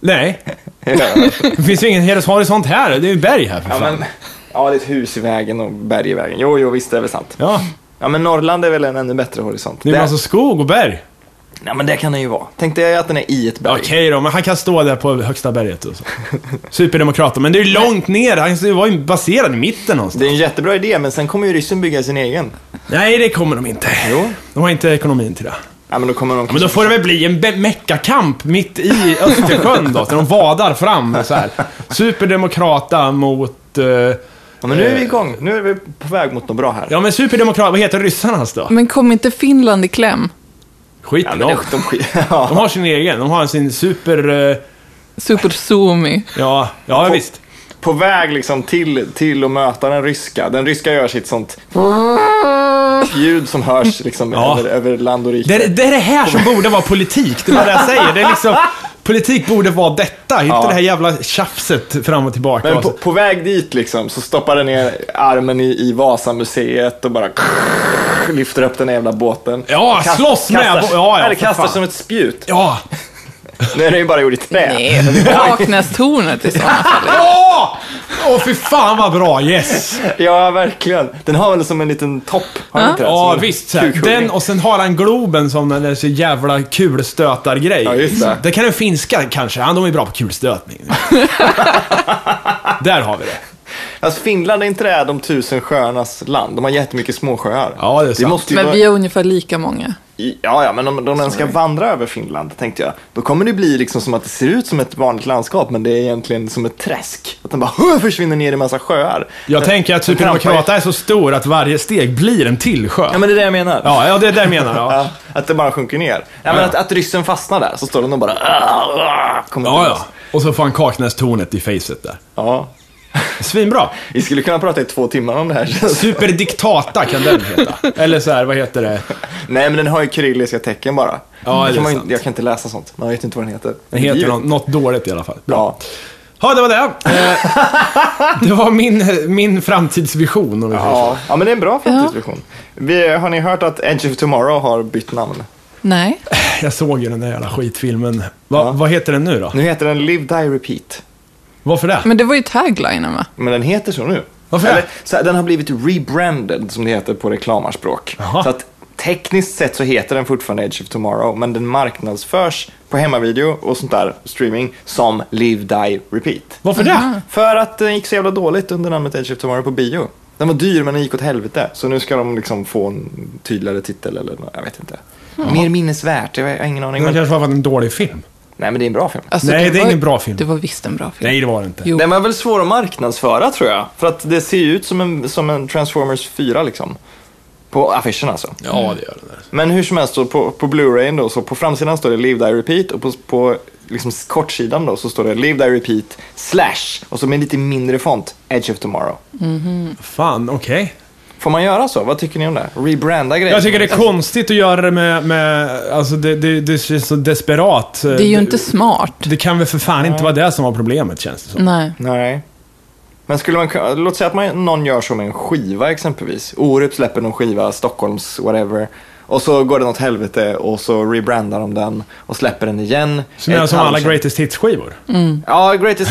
[SPEAKER 2] Nej, det finns ju ingen horisont här. Det är ju berg här för
[SPEAKER 1] Ja,
[SPEAKER 2] fan.
[SPEAKER 1] men, ja, det är ett hus i vägen och berg i vägen. Jo, jo, visst, det är väl sant.
[SPEAKER 2] Ja,
[SPEAKER 1] Ja, men Norrland är väl en ännu bättre horisont.
[SPEAKER 2] det är alltså-
[SPEAKER 1] Där-
[SPEAKER 2] massa skog och berg.
[SPEAKER 1] Nej, men det kan den ju vara. Tänk dig att den är i ett berg.
[SPEAKER 2] Okej då, men han kan stå där på högsta berget
[SPEAKER 1] <laughs>
[SPEAKER 2] och så. Superdemokrater, men det är ju långt ner. Han ska ju vara baserad i mitten någonstans.
[SPEAKER 1] Det är en jättebra idé, men sen kommer ju ryssen bygga sin egen.
[SPEAKER 2] Nej, det kommer de inte.
[SPEAKER 1] Jo.
[SPEAKER 2] De har inte ekonomin till det.
[SPEAKER 1] Ja, men då kommer de...
[SPEAKER 2] Men då får det väl bli en be- meckakamp mitt i Östersjön då, där de vadar fram så här. Superdemokrata mot... eh,
[SPEAKER 1] Ja, men nu är vi igång. Nu är vi på väg mot något bra här.
[SPEAKER 2] ja men superdemokrata, vad heter ryssarnas då?
[SPEAKER 3] Men kom inte Finland i kläm?
[SPEAKER 2] Skit
[SPEAKER 1] Mm. Ja,
[SPEAKER 2] i
[SPEAKER 1] men
[SPEAKER 2] dem.
[SPEAKER 1] det, de <laughs> sk- ja.
[SPEAKER 2] De har sin egen, de har sin super... eh,
[SPEAKER 3] Super zoomy.
[SPEAKER 2] ja, ja
[SPEAKER 1] På-
[SPEAKER 2] visst.
[SPEAKER 1] På väg liksom till, till att möta den ryska. Den ryska gör sitt sånt ljud som hörs liksom
[SPEAKER 2] Ja.
[SPEAKER 1] över, över land och rike.
[SPEAKER 2] Det är, det är det här som borde vara politik, det var det jag säger. Det är liksom... Politik borde vara detta, inte
[SPEAKER 1] Ja.
[SPEAKER 2] det här jävla tjafset fram och tillbaka.
[SPEAKER 1] Men på, på väg dit liksom så stoppar den ner armen i, i Vasamuseet och bara <laughs> lyfter upp den här jävla båten.
[SPEAKER 2] Ja,
[SPEAKER 1] Och kast-
[SPEAKER 2] slåss med bo-
[SPEAKER 1] Kastar,
[SPEAKER 2] ja, ja,
[SPEAKER 1] eller
[SPEAKER 2] för
[SPEAKER 1] kastar
[SPEAKER 2] fan.
[SPEAKER 1] som ett spjut.
[SPEAKER 2] Ja!
[SPEAKER 1] Nu är den ju bara gjord i trä.
[SPEAKER 2] <laughs>
[SPEAKER 3] Nej, men det är Kaknästornet i sådana fall.
[SPEAKER 2] Ja! Åh, fy fan vad bra, yes!
[SPEAKER 1] <laughs> Ja, verkligen. Den har väl som en liten topp? Har den inte det? Som
[SPEAKER 2] Ja,
[SPEAKER 1] en <laughs>
[SPEAKER 2] visst. Så här.
[SPEAKER 1] kukhuvud.
[SPEAKER 2] Den och sen har han Globen som den där så jävla kulstötargrej.
[SPEAKER 1] Ja, just det.
[SPEAKER 2] det kan den finska kanske, han de är bra på kulstötning. <laughs> där har vi det.
[SPEAKER 1] Alltså Finland är inte det de tusen sjöarnas land? De har jättemycket småsjöar.
[SPEAKER 2] Ja, <laughs> det är sant.
[SPEAKER 1] måste ju
[SPEAKER 3] Men
[SPEAKER 1] vara...
[SPEAKER 3] vi är ungefär lika många.
[SPEAKER 1] Ja, ja, men om de ens ska vandra över Finland, tänkte jag, då kommer det bli liksom som att det ser ut som ett vanligt landskap, men det är egentligen som ett träsk. Att den bara "Huh!" försvinner ner i massa sjöar.
[SPEAKER 2] Jag tänker att
[SPEAKER 1] Den trampar ju-
[SPEAKER 2] Supernova är så stor att varje steg blir en till sjö.
[SPEAKER 1] Ja, men det är det jag menar.
[SPEAKER 2] Ja, ja det är det jag menar. Ja.
[SPEAKER 1] Ja, att det bara sjunker ner. Ja, men att, att ryssen fastnar där, så står den och bara... "Ah, ah", Kommer
[SPEAKER 2] Ja,
[SPEAKER 1] till
[SPEAKER 2] ja.
[SPEAKER 1] oss.
[SPEAKER 2] Och så får han Kaknästornet i facet där.
[SPEAKER 1] ja.
[SPEAKER 2] Svinbra.
[SPEAKER 1] Vi skulle kunna prata i två timmar om det här. <laughs> känns det.
[SPEAKER 2] Superdiktata kan den heta. Eller så här, vad heter det?
[SPEAKER 1] Nej, men den har ju kyrilliska tecken bara.
[SPEAKER 2] Ja, det är
[SPEAKER 1] kan man, ju-
[SPEAKER 2] sant.
[SPEAKER 1] jag kan inte läsa sånt. Man vet inte vad den heter.
[SPEAKER 2] Den heter
[SPEAKER 1] Givet.
[SPEAKER 2] något, något dåligt i alla fall. Bra.
[SPEAKER 1] Ja.
[SPEAKER 2] Ja, det var det. Eh, Det var min, min framtidsvision om vi säger så.
[SPEAKER 1] Ja. ja, men det är en bra framtidsvision. Vi, har ni hört att Edge of Tomorrow har bytt namn?
[SPEAKER 3] Nej.
[SPEAKER 2] Jag såg ju den där jävla skitfilmen. Va,
[SPEAKER 1] Ja.
[SPEAKER 2] Vad heter den nu då?
[SPEAKER 1] Nu heter den Live, Die, Repeat.
[SPEAKER 2] Varför det?
[SPEAKER 3] Men det var ju taglinen va?
[SPEAKER 1] Men den heter så nu.
[SPEAKER 2] Varför det?
[SPEAKER 1] så här, den har blivit rebranded, som det heter på reklamarspråk.
[SPEAKER 2] Jaha.
[SPEAKER 1] Så att tekniskt sett så heter den fortfarande Edge of Tomorrow, men den marknadsförs på hemmavideo och sånt där, streaming, som Live, Die, Repeat.
[SPEAKER 2] Varför
[SPEAKER 3] Mm.
[SPEAKER 2] det?
[SPEAKER 1] För att den gick så jävla dåligt under namnet Edge of Tomorrow på bio. Den var dyr men den gick åt helvete. Så nu ska de liksom få en tydligare titel eller nå- jag vet inte. Mer minnesvärt, jag har ingen aning.
[SPEAKER 2] Den
[SPEAKER 1] Men...
[SPEAKER 2] kanske var en dålig film.
[SPEAKER 1] Nej men det är en bra film.
[SPEAKER 3] Alltså,
[SPEAKER 2] Nej, det är
[SPEAKER 3] var-
[SPEAKER 2] ingen bra film.
[SPEAKER 3] Det var visst en bra film.
[SPEAKER 2] Nej, det var det inte.
[SPEAKER 3] Jo.
[SPEAKER 1] Den var väl svår att marknadsföra tror jag. För att det ser ju ut som en, som en Transformers 4 liksom. På affischen alltså.
[SPEAKER 2] Ja, det gör den där.
[SPEAKER 1] Men hur som helst, då, på, på Blu-rayn då, så på framsidan står det Live, Die, Repeat och på, på liksom kortsidan då så står det Live, Die, Repeat slash och så med lite mindre font Edge of Tomorrow.
[SPEAKER 2] Fan, okej.
[SPEAKER 1] Får man göra så? Vad tycker ni om det? Rebranda grejer?
[SPEAKER 2] Jag tycker det är konstigt att göra det med... med alltså, det, det, det känns så desperat.
[SPEAKER 3] Det är ju inte smart.
[SPEAKER 2] Det kan väl för fan inte vara det som var problemet, känns det som.
[SPEAKER 3] Nej.
[SPEAKER 1] Nej. Men skulle man kunna- låt säga att man, någon gör så med en skiva exempelvis. Orup släpper någon skiva, Stockholms whatever. Och så går den åt helvete och så rebrandar de den och släpper den igen.
[SPEAKER 2] Så menar
[SPEAKER 1] Ett
[SPEAKER 2] som alla
[SPEAKER 1] halvår-
[SPEAKER 2] greatest hits-skivor.
[SPEAKER 3] Mm.
[SPEAKER 1] Ja, Greatest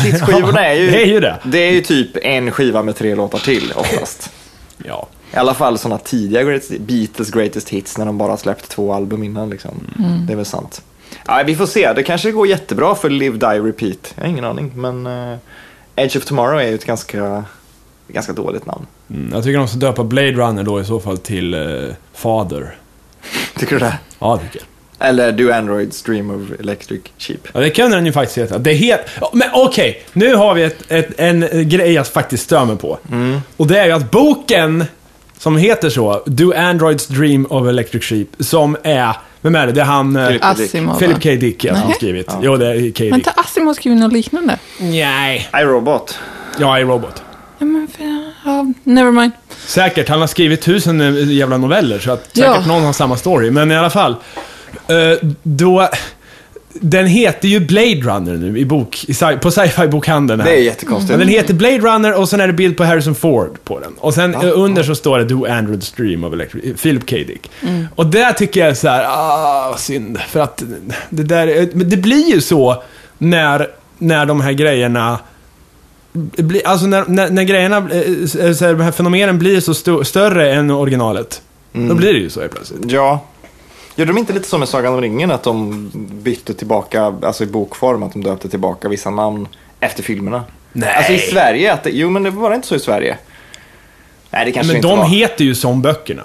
[SPEAKER 2] <laughs>
[SPEAKER 1] Hits-skivorna är ju...
[SPEAKER 2] Det är ju det.
[SPEAKER 1] Det är ju typ en skiva med tre låtar till oftast.
[SPEAKER 2] Ja.
[SPEAKER 1] I alla fall sådana tidiga greatest, Beatles Greatest Hits när de bara släppt två album innan. Liksom. Det är väl sant. Ja, vi får se, det kanske går jättebra för Live, Die, Repeat. Jag har ingen aning, men eh, Edge of Tomorrow är ju ett ganska, ganska dåligt namn.
[SPEAKER 2] Mm, jag tycker de ska döpa Blade Runner då i så fall till eh, Father.
[SPEAKER 1] <laughs> Tycker du det?
[SPEAKER 2] Ja, tycker jag.
[SPEAKER 1] Eller Do Androids Dream of Electric Sheep.
[SPEAKER 2] Ja, det kan den ju faktiskt heta. Det är helt... Ja, Men okej, nu har vi ett, ett, en eh, grej jag faktiskt stör mig på. Och det är ju att boken som heter så, Do Androids Dream of Electric Sheep, som är... Vem är det? Det är han... eh,
[SPEAKER 1] Philip-
[SPEAKER 3] Asimov. va?
[SPEAKER 2] Philip K. Dick ja, som har
[SPEAKER 3] Nej.
[SPEAKER 2] skrivit. Jo, det är K.
[SPEAKER 3] Men
[SPEAKER 2] Dick.
[SPEAKER 3] inte Asimov skrivit något liknande?
[SPEAKER 2] Nej.
[SPEAKER 1] I Robot.
[SPEAKER 2] Ja, i Robot.
[SPEAKER 3] Ja, men för, ja, never mind.
[SPEAKER 2] Säkert, han har skrivit tusen eh, jävla noveller så att
[SPEAKER 3] Ja.
[SPEAKER 2] säkert någon har samma story. Men i alla fall, eh, då... Den heter ju Blade Runner nu i bok, i, sci- på sci-fi bokhandeln här.
[SPEAKER 1] Mm. Det är jättekonstigt.
[SPEAKER 2] Men den heter Blade Runner och sen är det bild på Harrison Ford på den. Och sen eh, under så står det Do Androids Dream of Electric, Philip K. Dick.
[SPEAKER 1] Mm.
[SPEAKER 2] Och där tycker jag så här, ah, vad synd. För att det där, är- men det blir ju så när, när de här grejerna blir- Alltså när, när, när grejerna, eh, så här, de här fenomenen blir så sto- större än originalet.
[SPEAKER 1] Mm.
[SPEAKER 2] Då blir det ju så helt plötsligt.
[SPEAKER 1] Ja. Gjorde de inte lite som med Sagan om ringen, att de bytte tillbaka, alltså i bokform, att de döpte tillbaka vissa namn efter filmerna?
[SPEAKER 2] Nej.
[SPEAKER 1] Alltså i Sverige, att det, jo men det var inte så i Sverige. Nej, det kanske
[SPEAKER 2] Men
[SPEAKER 1] inte
[SPEAKER 2] de
[SPEAKER 1] var.
[SPEAKER 2] heter ju som böckerna.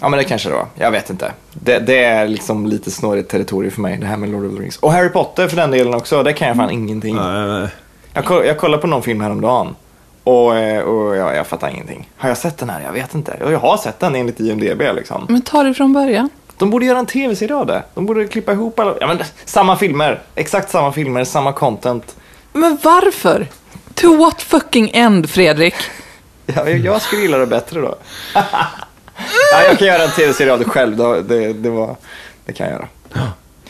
[SPEAKER 1] Ja, men det kanske det var. Jag vet inte. Det, det är liksom lite snårigt territorium för mig, det här med Lord of the Rings. Och Harry Potter för den delen också, det kan jag fan ingenting.
[SPEAKER 2] Eh,
[SPEAKER 1] Jag, koll, jag kollade på någon film häromdagen och, eh, och jag, jag fattar ingenting. Har jag sett den här? Jag vet inte. Och Jag har sett den enligt IMDB liksom.
[SPEAKER 3] Men ta det från början.
[SPEAKER 1] De borde göra en tv-serie av det. De borde klippa ihop alla... Ja, men, samma filmer. Exakt samma filmer, samma content.
[SPEAKER 3] Men varför? To what fucking end, Fredrik?
[SPEAKER 1] Jag, jag, jag skulle gilla det bättre då. <laughs> ja, jag kan göra en tv-serie av det själv. Det, det, det, var, det kan jag göra.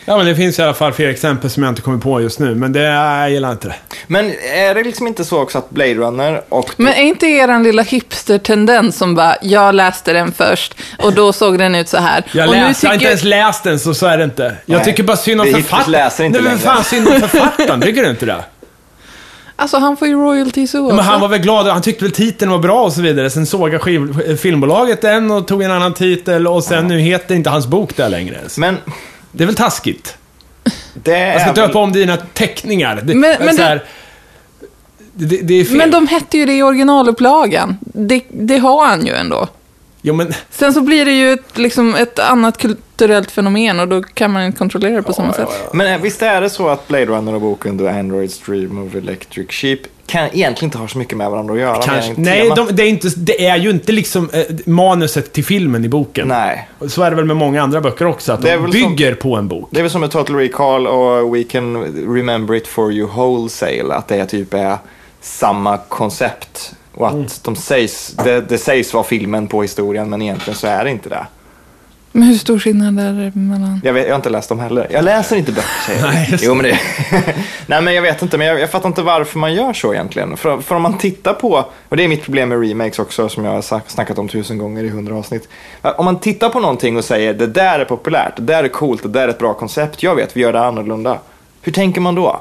[SPEAKER 2] Ja, men det finns i alla fall fler exempel som jag inte kommer på just nu, men det, jag gillar inte det.
[SPEAKER 1] Men är det liksom inte så också att Blade Runner och...
[SPEAKER 3] Men är inte er en lilla hipster-tendens som bara, jag läste den först och då såg den ut så här.
[SPEAKER 2] Jag,
[SPEAKER 3] och
[SPEAKER 2] läste, jag har inte ens läst den, så så är det inte. Jag
[SPEAKER 1] Nej,
[SPEAKER 2] tycker bara synd om
[SPEAKER 1] det är hittills
[SPEAKER 2] författaren.
[SPEAKER 1] läser inte
[SPEAKER 2] Nej, men
[SPEAKER 1] längre.
[SPEAKER 2] fan synd om
[SPEAKER 1] <laughs>
[SPEAKER 2] författaren, tycker du inte det?
[SPEAKER 3] Alltså han får ju royalties oavsett.
[SPEAKER 2] Men han var väl glad, han tyckte väl titeln var bra och så vidare. Sen sågade skiv- eh, filmbolaget den och tog en annan titel och sen nu heter inte hans bok där längre ens.
[SPEAKER 1] Men
[SPEAKER 2] Det är väl taskigt?
[SPEAKER 1] det är
[SPEAKER 2] Jag ska
[SPEAKER 1] väl-
[SPEAKER 2] döpa om dina teckningar. Det,
[SPEAKER 3] Men- men
[SPEAKER 2] så här, det, det, det är fel.
[SPEAKER 3] Men de hette ju det i originalupplagan. Det, det har han ju ändå.
[SPEAKER 2] Jo, men...
[SPEAKER 3] Sen så blir det ju ett, liksom ett annat kulturellt fenomen och då kan man inte kontrollera det på samma sätt.
[SPEAKER 1] Men eh, visst är det så att Blade Runner och boken The Androids Dream of Electric Sheep kan egentligen inte ha så mycket med varandra att göra?
[SPEAKER 2] Kanske.
[SPEAKER 1] mer än
[SPEAKER 2] Nej,
[SPEAKER 1] temat.
[SPEAKER 2] de, det, är inte, det är ju inte liksom eh, manuset till filmen i boken.
[SPEAKER 1] Nej.
[SPEAKER 2] Så är det väl med många andra böcker också, att
[SPEAKER 1] Det är
[SPEAKER 2] de
[SPEAKER 1] väl
[SPEAKER 2] bygger på en bok.
[SPEAKER 1] Det är väl som med Total Recall och We Can Remember It For You Wholesale, att det typ är samma koncept. Och att de sägs, det, det sägs vara filmen på historien, men egentligen så är det inte det.
[SPEAKER 3] Men hur stor skillnad är det mellan...
[SPEAKER 1] Jag, vet, jag har inte läst dem heller. Jag läser inte böcker säger jag.
[SPEAKER 2] Nej, just det.
[SPEAKER 1] jo, men det. <laughs> Nej, men jag vet inte. Men jag, jag fattar inte varför man gör så egentligen. För, för om man tittar på, och det är mitt problem med remakes också, som jag har sa- snackat om tusen gånger i hundra avsnitt. Om man tittar på någonting och säger det där är populärt, det där är coolt, det där är ett bra koncept. Jag vet, vi gör det annorlunda. Hur tänker man då?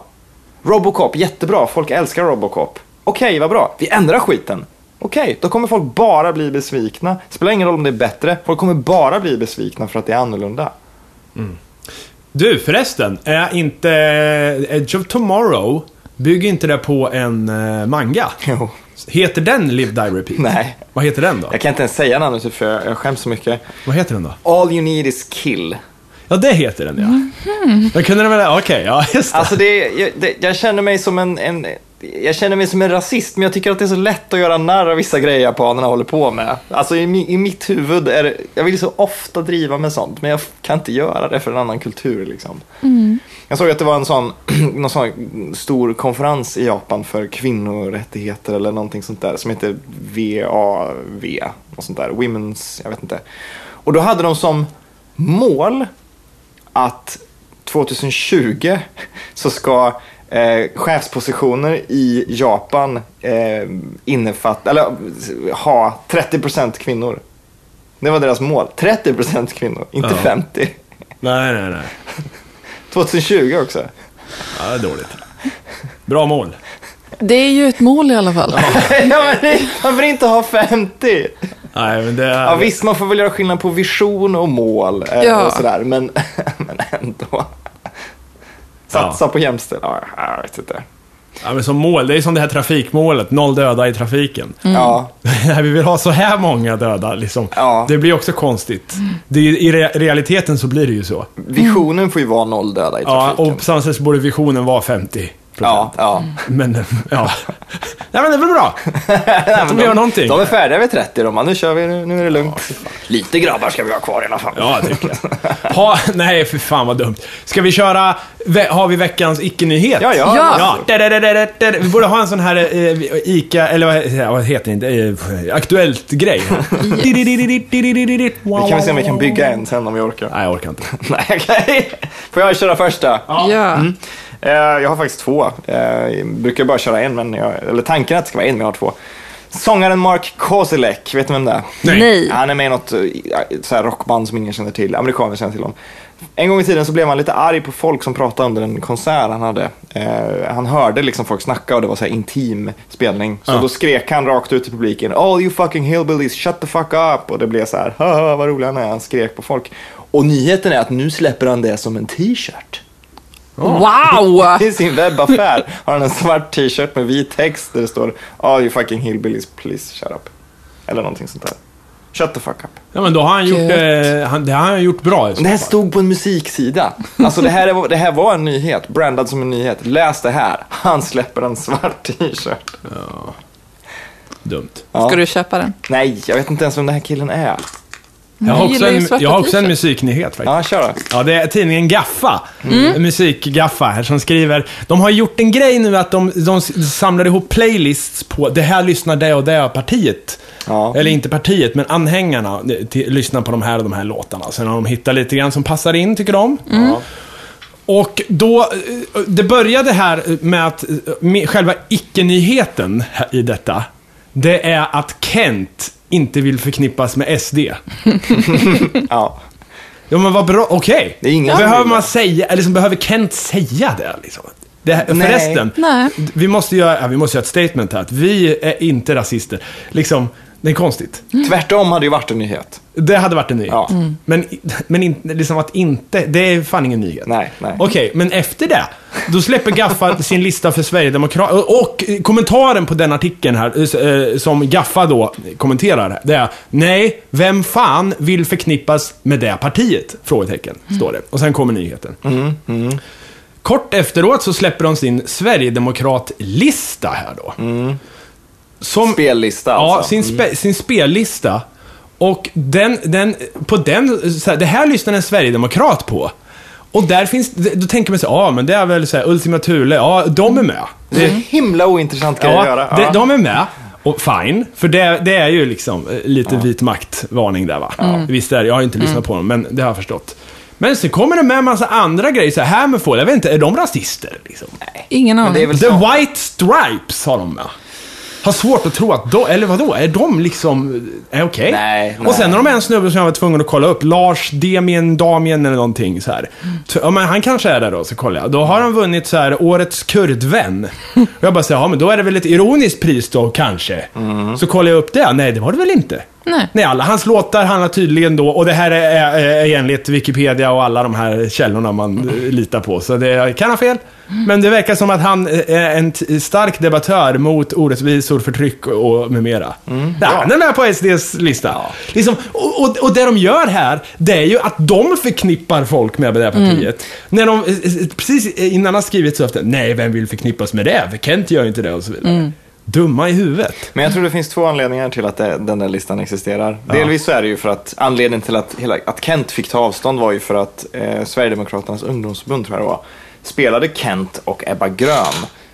[SPEAKER 1] Robocop, jättebra, folk älskar Robocop. Okej, vad bra, vi ändrar skiten. Okej, då kommer folk bara bli besvikna. Spelar ingen roll om det är bättre, folk kommer bara bli besvikna för att det är annorlunda.
[SPEAKER 2] Du förresten, är inte eh, Edge of Tomorrow, bygger inte det på en eh,
[SPEAKER 1] <laughs>
[SPEAKER 2] manga?
[SPEAKER 1] Jo.
[SPEAKER 2] Heter den Live, Die, Repeat?
[SPEAKER 1] Nej.
[SPEAKER 2] Vad heter den då?
[SPEAKER 1] Jag kan inte ens säga namnet typ, för jag, jag skäms så mycket.
[SPEAKER 2] Vad heter den då?
[SPEAKER 1] All you need is kill.
[SPEAKER 2] Ja, det heter den ja. Jag kunde den väl... Okej, ja just det.
[SPEAKER 1] Alltså det, jag, det, jag känner mig som en, en jag känner mig som en rasist, men jag tycker att det är så lätt att göra narr av vissa grejer japanerna håller på med. Alltså i, mi- i mitt huvud är det, jag vill så ofta driva med sånt, men jag kan inte göra det för en annan kultur liksom.
[SPEAKER 2] Mm.
[SPEAKER 1] Jag såg att det var en sån, <clears throat> någon sån stor konferens i Japan för kvinnorättigheter eller någonting sånt där som heter VAV, något sånt där, Women's, jag vet inte. Och då hade de som mål att 2020 så ska eh, chefspositioner i Japan eh, innefatta, eller ha 30% kvinnor. Det var deras mål. 30% kvinnor, inte
[SPEAKER 2] Ja.
[SPEAKER 1] 50.
[SPEAKER 2] Nej, nej, nej.
[SPEAKER 1] 2020 också.
[SPEAKER 2] Ja, det är dåligt. Bra mål.
[SPEAKER 3] Det är ju ett mål i alla fall.
[SPEAKER 1] ja, men det- varför inte ha 50?
[SPEAKER 2] Nej, men det... Är...
[SPEAKER 1] Ja, visst, man får väl göra skillnad på vision och mål eh,
[SPEAKER 3] Ja.
[SPEAKER 1] och sådär, men, <laughs> men ändå. Satsa på jämställdhet. Ja, jag vet inte.
[SPEAKER 2] Ja, men som mål, det är som det här trafikmålet, noll döda i trafiken.
[SPEAKER 1] Ja,
[SPEAKER 2] <laughs> Nej, vi vill ha så här många döda liksom.
[SPEAKER 1] Ja.
[SPEAKER 2] Det blir också konstigt. Det är, ju- I re, realiteten så blir det ju så.
[SPEAKER 1] visionen får ju vara noll döda i
[SPEAKER 2] Ja,
[SPEAKER 1] trafiken.
[SPEAKER 2] och på samma sätt så borde visionen vara 50
[SPEAKER 1] Ja, ja.
[SPEAKER 2] Men, eh, ja. Nej, men det är väl
[SPEAKER 1] <laughs>
[SPEAKER 2] bra? Att de gör någonting.
[SPEAKER 1] De är färdiga vid 30 de bara, nu kör vi, nu, nu är det lugnt. Lite grabbar ska vi ha kvar i alla fall.
[SPEAKER 2] Ja, det tycker jag. Ha, nej, för fan vad dumt. Ska vi köra, ve- har vi veckans icke-nyhet?
[SPEAKER 1] Ja, ja.
[SPEAKER 3] Ja.
[SPEAKER 2] Ja, där, där, där, där, där, där. Vi borde ha en sån här eh, Ica, eller vad, vad heter det? inte? Eh,
[SPEAKER 1] <laughs>
[SPEAKER 2] Aktuellt-grej.
[SPEAKER 1] Vi kan väl se om vi kan bygga en sen om vi orkar.
[SPEAKER 2] Nej, jag orkar inte.
[SPEAKER 1] <laughs> Nej, okej. Får jag köra första?
[SPEAKER 3] Ja.
[SPEAKER 1] Mm. Eh, jag har faktiskt två. Eh, jag brukar bara köra en, men jag, eller tanken är att det ska vara en, men jag har två. Sångaren Mark Kozelek, vet ni vem det är?
[SPEAKER 2] Nej.
[SPEAKER 3] Nej.
[SPEAKER 1] Han är med i något eh, så här rockband som ingen känner till. Amerikaner känner till honom. En gång i tiden så blev han lite arg på folk som pratade under en konsert han hade. Eh, han hörde liksom folk snacka och det var så här intim spelning. Så
[SPEAKER 2] Ja.
[SPEAKER 1] då skrek han rakt ut till publiken. All you fucking hillbillies, shut the fuck up. Och det blev så här, haha vad rolig han är. Han skrek på folk. Och nyheten är att nu släpper han det som en t-shirt.
[SPEAKER 3] Wow!
[SPEAKER 1] I sin webbaffär har han en svart t-shirt med vit text där det står All you fucking hillbillies, please shut up. Eller någonting sånt där. Shut the fuck up.
[SPEAKER 2] Ja, men då har han gjort, eh, han, det har han gjort bra.
[SPEAKER 1] Det här stod på en musiksida. Alltså det här, är, det här var en nyhet, brandad som en nyhet. Läs det här. Han släpper en svart t-shirt.
[SPEAKER 2] Dumt.
[SPEAKER 1] Ja.
[SPEAKER 3] Ska du köpa den?
[SPEAKER 1] Nej, jag vet inte ens vem den här killen är.
[SPEAKER 2] Jag har,
[SPEAKER 3] Jag
[SPEAKER 2] också
[SPEAKER 3] gillar ju
[SPEAKER 2] en,
[SPEAKER 3] svarta
[SPEAKER 2] jag har också en
[SPEAKER 3] t-shirt.
[SPEAKER 2] musiknyhet faktiskt.
[SPEAKER 1] Ja, kör då.
[SPEAKER 2] Ja, det är tidningen Gaffa, musikgaffa här, som skriver. De har gjort en grej nu att de, de samlar ihop playlists på det här lyssnar det och det partiet.
[SPEAKER 1] Ja.
[SPEAKER 2] Eller inte partiet, men anhängarna eh, till, lyssnar på de här och de här låtarna. Sen har de hittat lite grann som passar in, tycker de. Och då, eh, det började här med att eh, med själva icke-nyheten här i detta, det är att Kent inte vill förknippas med SD.
[SPEAKER 1] Ja.
[SPEAKER 2] Ja men vad bra, okej.
[SPEAKER 1] Det är ingen som
[SPEAKER 2] Behöver
[SPEAKER 1] vill
[SPEAKER 2] man
[SPEAKER 1] det.
[SPEAKER 2] säga, eller liksom, behöver Kent säga det liksom? Det här,
[SPEAKER 1] Nej.
[SPEAKER 2] förresten,
[SPEAKER 3] Nej.
[SPEAKER 2] Vi, måste göra, ja, vi måste göra ett statement här, att vi är inte rasister. Liksom, det är konstigt.
[SPEAKER 1] Tvärtom hade ju varit en nyhet.
[SPEAKER 2] Det hade varit en nyhet.
[SPEAKER 1] Ja. Mm.
[SPEAKER 2] Men, men in, liksom att inte, det är fan ingen nyhet.
[SPEAKER 1] Nej, nej.
[SPEAKER 2] Okej, men efter det, då släpper Gaffa <laughs> sin lista för Sverigedemokraterna. Och, och kommentaren på den artikeln här, eh, som Gaffa då kommenterar, det är Nej, vem fan vill förknippas med det partiet? Frågetecken, står det. Och sen kommer nyheten.
[SPEAKER 1] Mm,
[SPEAKER 2] Kort efteråt så släpper de sin Sverigedemokrat-lista här då.
[SPEAKER 1] Mm.
[SPEAKER 2] Som,
[SPEAKER 1] Spellista
[SPEAKER 2] Ja,
[SPEAKER 1] alltså.
[SPEAKER 2] sin, spe, sin spellista. Och den, den, på den, så här, det här lyssnar en sverigedemokrat på. Och där finns, då tänker man sig, ja men det är väl så här, Ultima Thule, ja de är med.
[SPEAKER 1] Det är en himla ointressant grej att göra.
[SPEAKER 2] Ja, de, de är med. Och fine, för det, det är ju liksom eh, lite vit makt-varning där va? Mm. Visst är det, jag har ju inte
[SPEAKER 1] Mm.
[SPEAKER 2] lyssnat på dem, men det har jag förstått. Men så kommer det med en massa andra grejer, så här med folk, jag vet inte, är de rasister? Liksom?
[SPEAKER 3] Ingen
[SPEAKER 1] Men det är
[SPEAKER 3] aning.
[SPEAKER 1] väl
[SPEAKER 2] The
[SPEAKER 1] så.
[SPEAKER 2] White Stripes har de med. Har svårt att tro att de, eller vadå, är de liksom, är okej?
[SPEAKER 1] Nej,
[SPEAKER 2] Och sen
[SPEAKER 1] nej.
[SPEAKER 2] har de en snubbe som jag var tvungen att kolla upp, Lars Demien, Damien eller någonting så här. Så, Ja, men han kanske är där då, så kollar jag. Då har han vunnit så här, Årets kurdvän. Och jag bara säger, ja men då är det väl ett ironiskt pris då, kanske.
[SPEAKER 1] Mm.
[SPEAKER 2] Så kollar jag upp det, nej det var det väl inte.
[SPEAKER 3] Nej.
[SPEAKER 2] Nej, alla hans låtar handlar tydligen då, och det här är, är, är enligt Wikipedia och alla de här källorna man eh, litar på, så det kan ha fel. Men det verkar som att han eh, är en t- stark debattör mot orättvisor, förtryck och med mera. Mm, ja. Han är med på SDs lista. Liksom, och, och, och det de gör här, det är ju att de förknippar folk med det här partiet. När de, eh, eh, precis innan han skrivit så ofta, nej, vem vill förknippas med det? För Kent gör ju inte det och så vidare. Dumma i huvudet.
[SPEAKER 1] Men jag tror det finns två anledningar till att det, den där listan existerar. Delvis så är det ju för att anledningen till att, hela, att Kent fick ta avstånd var ju för att eh, Sverigedemokraternas ungdomsförbund, tror jag det var, spelade Kent och Ebba Grön.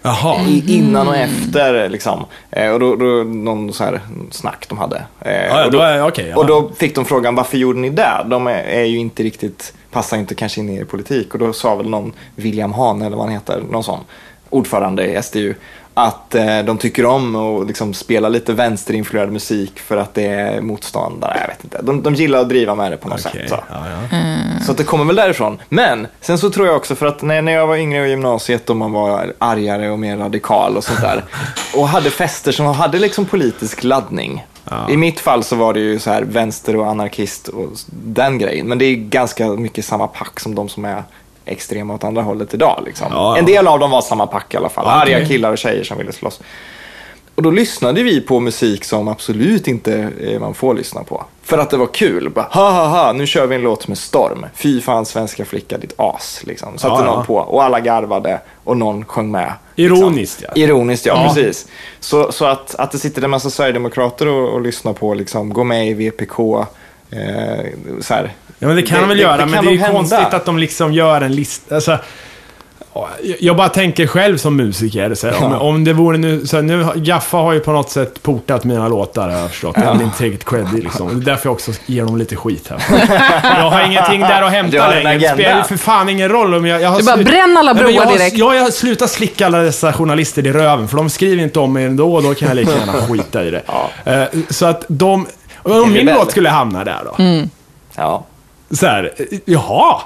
[SPEAKER 2] Jaha.
[SPEAKER 1] I, innan och efter liksom. Eh, och då, då någon så här snack de hade. Eh,
[SPEAKER 2] ja,
[SPEAKER 1] och, då,
[SPEAKER 2] då är- okej, ja.
[SPEAKER 1] och då fick de frågan varför gjorde ni det? De är, är ju inte riktigt, passar inte kanske in i er politik. Och då sa väl någon William Hahn eller vad han heter, någon sån ordförande i SDU. Att eh, de tycker om att liksom spela lite vänsterinfluerad musik för att det är motståndare. Jag vet inte. De, de gillar att driva med det på något
[SPEAKER 2] Okej,
[SPEAKER 1] sätt. Så.
[SPEAKER 2] ja, ja.
[SPEAKER 1] Så att det kommer väl därifrån. Men sen så tror jag också för att när, när jag var yngre i gymnasiet och man var argare och mer radikal och
[SPEAKER 2] <laughs>
[SPEAKER 1] sånt där. Och hade fester som hade liksom politisk laddning. I mitt fall så var det ju så här vänster och anarkist och s- den grejen. Men det är ganska mycket samma pack som de som är extrema åt andra hållet idag. Liksom.
[SPEAKER 2] Ja, ja.
[SPEAKER 1] En del av dem var samma pack i alla fall.
[SPEAKER 2] Okej.
[SPEAKER 1] Arga killar och tjejer som ville slåss. Och då lyssnade vi på musik som absolut inte eh, man får lyssna på. För att det var kul. Bara, ha, ha, ha, nu kör vi en låt med storm. Fy fan svenska flicka, ditt as. Liksom. Satte
[SPEAKER 2] Ja, ja.
[SPEAKER 1] någon på och alla garvade och någon sjöng med. liksom.
[SPEAKER 2] Ironiskt, ja.
[SPEAKER 1] Ironiskt ja,
[SPEAKER 2] Ja.
[SPEAKER 1] precis. Så, så att, att det sitter en massa sverigedemokrater och, och lyssnar på, liksom, gå med i VPK. Eh, så här.
[SPEAKER 2] Ja, men det kan de väl göra, men
[SPEAKER 1] kan
[SPEAKER 2] det är ju
[SPEAKER 1] nog hända.
[SPEAKER 2] konstigt att de liksom gör en lista. Alltså, ja, jag bara tänker själv som musiker, så här, om, om det vore nu, så här, nu, har- Gaffa har ju på något sätt portat mina låtar har jag förstått. Jag är inte tillräckligt creddig liksom. Det är därför jag också ger dem lite skit
[SPEAKER 1] <laughs>
[SPEAKER 2] här. Jag har ingenting där att
[SPEAKER 1] Du
[SPEAKER 2] hämta
[SPEAKER 1] har en
[SPEAKER 2] längre. Det
[SPEAKER 1] agenda.
[SPEAKER 2] spelar ju för fan ingen roll om jag... jag har
[SPEAKER 3] Du bara,
[SPEAKER 2] slut-
[SPEAKER 3] bränn alla
[SPEAKER 2] Nej, men
[SPEAKER 3] broar
[SPEAKER 2] jag har-
[SPEAKER 3] direkt.
[SPEAKER 2] Ja, jag slutar slicka alla dessa journalister i röven, för de skriver inte om mig ändå och då kan jag lika
[SPEAKER 1] <laughs>
[SPEAKER 2] gärna skita i det.
[SPEAKER 1] Ja.
[SPEAKER 2] Eh, Så att de... Om min
[SPEAKER 1] rebell.
[SPEAKER 2] låt skulle hamna där
[SPEAKER 3] Mm.
[SPEAKER 2] då
[SPEAKER 1] Ja.
[SPEAKER 2] så här, eh, jaha,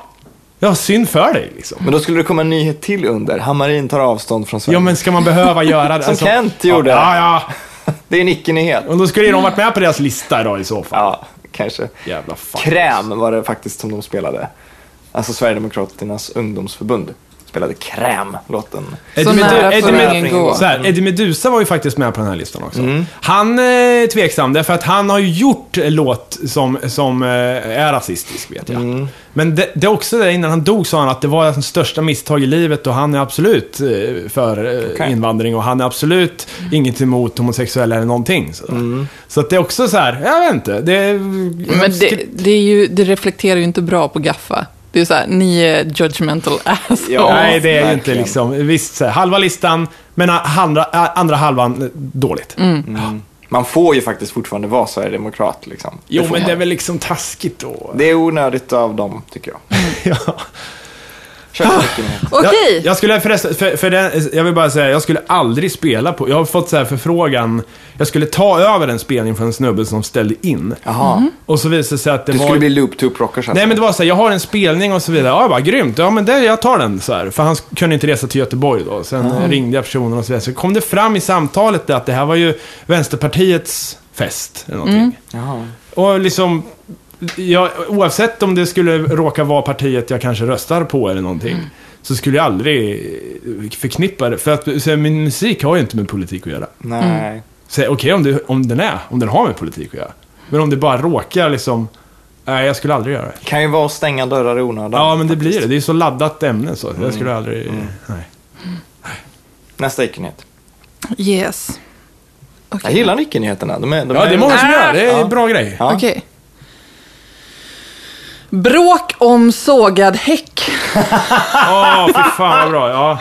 [SPEAKER 2] ja synd för dig liksom.
[SPEAKER 1] Men då skulle det komma en nyhet till under. Hammarin tar avstånd från Sverige.
[SPEAKER 2] Ja men ska man behöva göra det? Alltså,
[SPEAKER 1] Som Kent gjorde.
[SPEAKER 2] Ja, ja.
[SPEAKER 1] Det är en icke-nyhet.
[SPEAKER 2] Och då skulle ju de varit med på deras lista idag i så fall.
[SPEAKER 1] Ja, kanske.
[SPEAKER 2] Jävla fan.
[SPEAKER 1] Kräm var det faktiskt som de spelade. Alltså Sverigedemokraternas ungdomsförbund spelade Kräm, låten.
[SPEAKER 3] Så
[SPEAKER 2] Eddie
[SPEAKER 3] nära
[SPEAKER 2] Medu-
[SPEAKER 3] får Mm.
[SPEAKER 2] Eddie
[SPEAKER 1] ingen
[SPEAKER 2] Medu-
[SPEAKER 1] gå.
[SPEAKER 2] så här, Eddie Meduza var ju faktiskt med på den här listan också.
[SPEAKER 1] Mm.
[SPEAKER 2] Han eh, är tveksam därför att han har ju gjort en låt som, som eh, är rasistisk vet jag.
[SPEAKER 1] Mm.
[SPEAKER 2] Men det, det är också det, innan han dog sa han att det var hans största misstag i livet och han är absolut eh, för eh,
[SPEAKER 1] Okej.
[SPEAKER 2] invandring och han är absolut inget emot homosexuella eller någonting. Så,
[SPEAKER 1] Mm.
[SPEAKER 2] så att det är också så här, jag vet inte. Det,
[SPEAKER 3] Men det, det, är ju, det reflekterar ju inte bra på Gaffa. Det är ju såhär, ni är judgmental <laughs> assholes.
[SPEAKER 1] Ja.
[SPEAKER 2] Nej, det är ju inte
[SPEAKER 1] verkligen.
[SPEAKER 2] liksom. Visst, så här, halva listan, men eh, andra, andra halvan eh, dåligt.
[SPEAKER 3] Mm.
[SPEAKER 1] Man får ju faktiskt fortfarande vara sverigedemokrat. Liksom.
[SPEAKER 2] Jo,
[SPEAKER 1] får
[SPEAKER 2] men <laughs>
[SPEAKER 1] man.
[SPEAKER 2] det är väl liksom taskigt då.
[SPEAKER 1] det är onödigt av dem, tycker jag.
[SPEAKER 2] ja.
[SPEAKER 1] Kör så mycket mer.
[SPEAKER 3] Okej.
[SPEAKER 2] Jag, jag skulle förresten, för, för den, jag vill bara säga, jag skulle aldrig spela på, jag har fått så här förfrågan, jag skulle ta över en spelning från en snubbe som ställde in.
[SPEAKER 1] Jaha.
[SPEAKER 2] Och så visade det sig att det
[SPEAKER 1] Du
[SPEAKER 2] var...
[SPEAKER 1] skulle bli loop tube rockers alltså.
[SPEAKER 2] Nej men det var så här, jag har en spelning och så vidare. Ja, jag bara, grymt. Ja men det, jag tar den så här. För han sk- kunde inte resa till Göteborg då. Sen eh, ringde jag personen och så vidare. Så kom det fram i samtalet att det här var ju Vänsterpartiets fest. Eller någonting.
[SPEAKER 1] Jaha.
[SPEAKER 2] Och liksom, jag, oavsett om det skulle råka vara partiet jag kanske röstar på eller någonting. Så skulle jag aldrig eh, förknippa det. För att så här, min musik har ju inte med politik att göra.
[SPEAKER 1] Nej.
[SPEAKER 2] Så här, Okej om om, om den är, om den har med politik att göra. Men om det bara råkar liksom, nej jag skulle aldrig göra det.
[SPEAKER 1] Kan ju vara att stänga dörrar i onödan.
[SPEAKER 2] Ja, men det blir det. Det är så laddat ämne så. Jag skulle aldrig... Nej.
[SPEAKER 1] Nästa icke-nyhet.
[SPEAKER 3] Yes.
[SPEAKER 1] Jag
[SPEAKER 3] Okej.
[SPEAKER 1] gillar icke-nyheterna. De är, de
[SPEAKER 2] Ja, det är många som gör. Det är
[SPEAKER 1] Ja.
[SPEAKER 2] en bra grej.
[SPEAKER 1] Ja.
[SPEAKER 3] Okej. Bråk om sågad häck.
[SPEAKER 2] Åh, fy fan vad bra. Ja.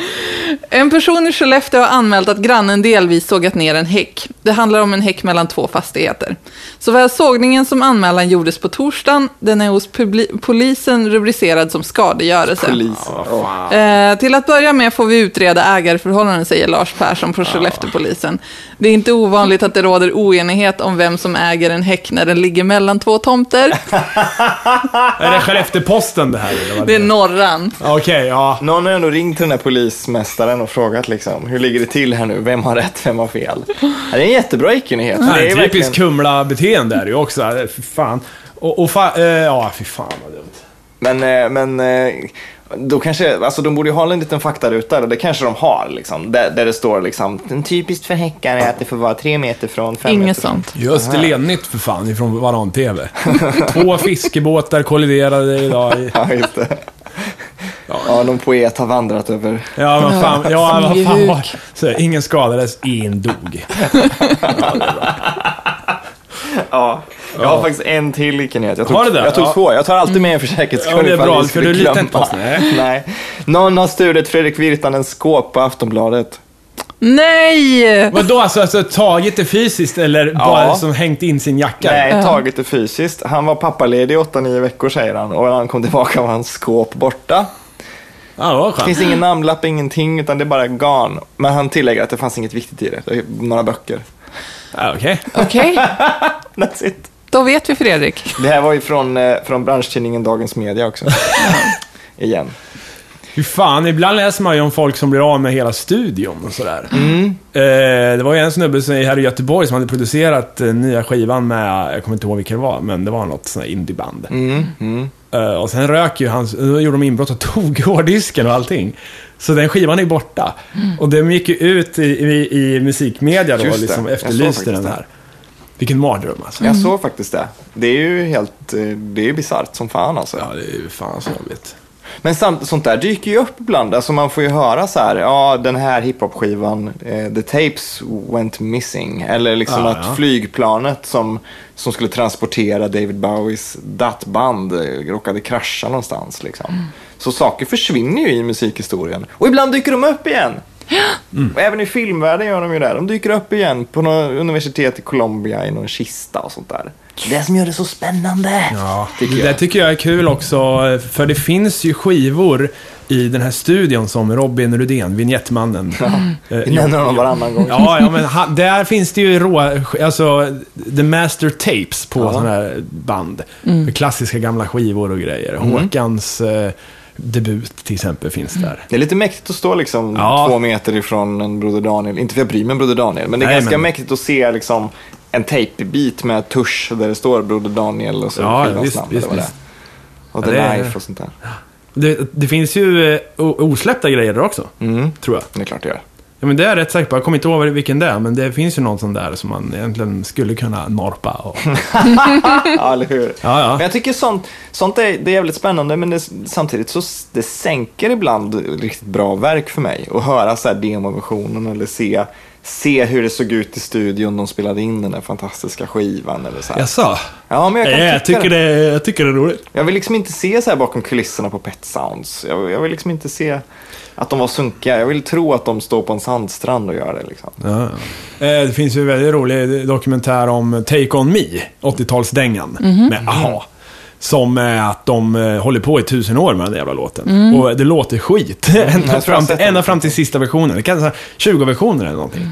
[SPEAKER 3] En person i Skellefteå har anmält att grannen delvis sågat ner en häck. Det handlar om en häck mellan två fastigheter. Såväl sågningen som anmälan gjordes på torsdagen. Den är hos publi- polisen rubricerad som skadegörelse.
[SPEAKER 1] Polis.
[SPEAKER 3] Eh, till att börja med får vi utreda ägarförhållanden, säger Lars Persson på Skellefteåpolisen. Det är inte ovanligt att det råder oenighet om vem som äger en häck när den ligger mellan två tomter.
[SPEAKER 2] Är det Skellefteå-Posten det här? eller vad
[SPEAKER 3] Det är Norran.
[SPEAKER 2] Okej, ja.
[SPEAKER 1] Någon har ändå ringt till den här polismästaren och frågat liksom, hur ligger det till här nu? Vem har rätt? Vem har fel? Ja, Det är en jättebra icke-nyhet.
[SPEAKER 2] Det
[SPEAKER 1] Det är
[SPEAKER 2] är
[SPEAKER 1] verkligen-
[SPEAKER 2] typiskt Kumla-beteende är det ju också. Fy fan. Och, och fa- eh, ja, fy fan vad dumt.
[SPEAKER 1] Men, eh, men eh, då kanske, alltså de borde ju ha en liten faktaruta och det kanske de har liksom. Där, där det står liksom, "Den typiskt för häckar är att det får vara tre meter från fem meter
[SPEAKER 3] Inget
[SPEAKER 1] från."
[SPEAKER 3] sånt.
[SPEAKER 2] Just det, Lennytt för fan, ifrån Varan-TV. Två fiskebåtar kolliderade idag. i-
[SPEAKER 1] <laughs> Ja, just det. Ja, någon poet har vandrat över.
[SPEAKER 2] Ja, vad fan. Ja, vad fan
[SPEAKER 3] Smygehuk.
[SPEAKER 2] var Så, Ingen skadades, en dog.
[SPEAKER 1] Ja, jag har faktiskt en till icke-nyhet. Jag tog,
[SPEAKER 2] Har du det?
[SPEAKER 1] jag tog
[SPEAKER 2] Ja.
[SPEAKER 1] två, jag tar alltid med en för säkerhets skull.
[SPEAKER 2] Ja, det är
[SPEAKER 1] ifall
[SPEAKER 2] bra,
[SPEAKER 1] vi
[SPEAKER 2] för
[SPEAKER 1] skulle
[SPEAKER 2] du litar
[SPEAKER 1] glömma.
[SPEAKER 2] inte på oss, nej.
[SPEAKER 1] <laughs> Nej. Någon har stulit Fredrik Virtanens skåp på Aftonbladet.
[SPEAKER 3] Nej!
[SPEAKER 2] Vadå, alltså, alltså tagit det fysiskt eller bara som hängt in sin jacka?
[SPEAKER 1] Nej, tagit det fysiskt. Han var pappaledig i 8-9 veckor säger han och när han kom tillbaka var hans skåp borta.
[SPEAKER 2] Ja, det var
[SPEAKER 1] Det
[SPEAKER 2] skönt.
[SPEAKER 1] finns ingen namnlapp, ingenting, utan det är bara garn. Men han tillägger att det fanns inget viktigt i det. det är några böcker. <laughs>
[SPEAKER 2] Ja, Okej.
[SPEAKER 3] Okej,
[SPEAKER 1] That's it.
[SPEAKER 3] då vet vi Fredrik.
[SPEAKER 1] Det här var ju från, eh, från branschtidningen Dagens Media också. Igen.
[SPEAKER 2] Hur fan, ibland läser man ju om folk som blir av med hela studion och sådär.
[SPEAKER 1] Mm.
[SPEAKER 2] Eh, det var ju en snubbe som, här i Göteborg som hade producerat eh, nya skivan med, jag kommer inte ihåg vilka det var, men det var något sånt här indieband.
[SPEAKER 1] Mm,
[SPEAKER 2] Eh, och sen rök ju hans, då gjorde de inbrott och <laughs> tog hårddisken och allting. Så den skivan är borta. Och den gick ju ut i, i, i musikmedia då,
[SPEAKER 1] Mm. Just det.
[SPEAKER 2] liksom
[SPEAKER 1] Jag såg
[SPEAKER 2] efterlyste
[SPEAKER 1] faktiskt
[SPEAKER 2] den
[SPEAKER 1] det.
[SPEAKER 2] här. Vilken mardröm alltså.
[SPEAKER 1] Jag såg faktiskt det. Det är ju helt, eh, det är ju bisarrt som fan alltså.
[SPEAKER 2] Ja, det är ju fan så jobbigt.
[SPEAKER 1] Men samt, sånt där dyker ju upp ibland. Alltså man får ju höra så här, ja den här hiphop-skivan, eh, the tapes went missing. Eller liksom
[SPEAKER 2] Ja,
[SPEAKER 1] att
[SPEAKER 2] Ah, ja.
[SPEAKER 1] flygplanet som, som skulle transportera David Bowies datband eh, råkade krascha någonstans. Liksom. Så saker försvinner ju i musikhistorien. Och ibland dyker de upp igen.
[SPEAKER 2] Mm.
[SPEAKER 1] Och även i filmvärlden gör de ju det. De dyker upp igen på något universitet i Colombia i någon kista och sånt där. Det är det som gör det så spännande.
[SPEAKER 2] Ja,
[SPEAKER 1] tycker
[SPEAKER 2] det där
[SPEAKER 1] jag.
[SPEAKER 2] tycker jag är kul också, för det finns ju skivor i den här studion som Robin Rudén, vignettmannen.
[SPEAKER 1] <laughs>
[SPEAKER 2] eh,
[SPEAKER 1] Vi nämner honom varannan gång.
[SPEAKER 2] Ja, ja, men han, där finns det ju rå, alltså The Master Tapes på sådana här band. Med klassiska gamla skivor och grejer.
[SPEAKER 1] Mm.
[SPEAKER 2] Håkans eh, debut till exempel finns där.
[SPEAKER 1] Det är lite mäktigt att stå liksom
[SPEAKER 2] Ja.
[SPEAKER 1] två meter ifrån en Broder Daniel. Inte för jag bryr mig om Broder Daniel, men det är
[SPEAKER 2] Nej,
[SPEAKER 1] ganska
[SPEAKER 2] men-
[SPEAKER 1] mäktigt att se liksom en tejpbit med tusch där det står Broder Daniel och så
[SPEAKER 2] Ja,
[SPEAKER 1] skivans
[SPEAKER 2] visst,
[SPEAKER 1] namn.
[SPEAKER 2] visst,
[SPEAKER 1] eller vad det är.
[SPEAKER 2] visst.
[SPEAKER 1] Och
[SPEAKER 2] Ja,
[SPEAKER 1] The
[SPEAKER 2] det är-
[SPEAKER 1] Knife och sånt där.
[SPEAKER 2] Det, det finns ju eh, o- osläppta grejer där också,
[SPEAKER 1] Mm.
[SPEAKER 2] tror jag.
[SPEAKER 1] Det är klart det gör.
[SPEAKER 2] Ja, men det är jag rätt säker på. Jag kommer inte ihåg vilken det är, men det finns ju någon sån där som man egentligen skulle kunna norpa. Och...
[SPEAKER 1] Ja, eller hur?
[SPEAKER 2] <laughs> Ja, ja.
[SPEAKER 1] Men jag tycker sånt, sånt är, det är jävligt spännande, men det, samtidigt så s- det sänker ibland riktigt bra verk för mig. Att höra så här demoversionen eller se, se hur det såg ut i studion de spelade in den där fantastiska skivan. Eller så här.
[SPEAKER 2] Jaså? Eh,
[SPEAKER 1] Ja, men jag kan
[SPEAKER 2] Jag
[SPEAKER 1] tycka
[SPEAKER 2] tycker det, jag tycker det är roligt.
[SPEAKER 1] Jag vill liksom inte se så här bakom kulisserna på Pet Sounds. Jag, jag vill liksom inte se att de var sunkiga. Jag vill tro att de står på en sandstrand och gör det. Liksom.
[SPEAKER 2] Eh, Det finns ju
[SPEAKER 1] Mhm.
[SPEAKER 2] en väldigt rolig dokumentär om Take On Me, 80-talsdängan, med AHA. Som är att de eh, håller på i tusen år med den där jävla låten. Och det låter skit. ända,
[SPEAKER 1] Mm. jag tror jag
[SPEAKER 2] fram
[SPEAKER 1] har
[SPEAKER 2] till,
[SPEAKER 1] sett den.
[SPEAKER 2] ända fram till sista versionen. Det kan vara 20 versioner eller någonting.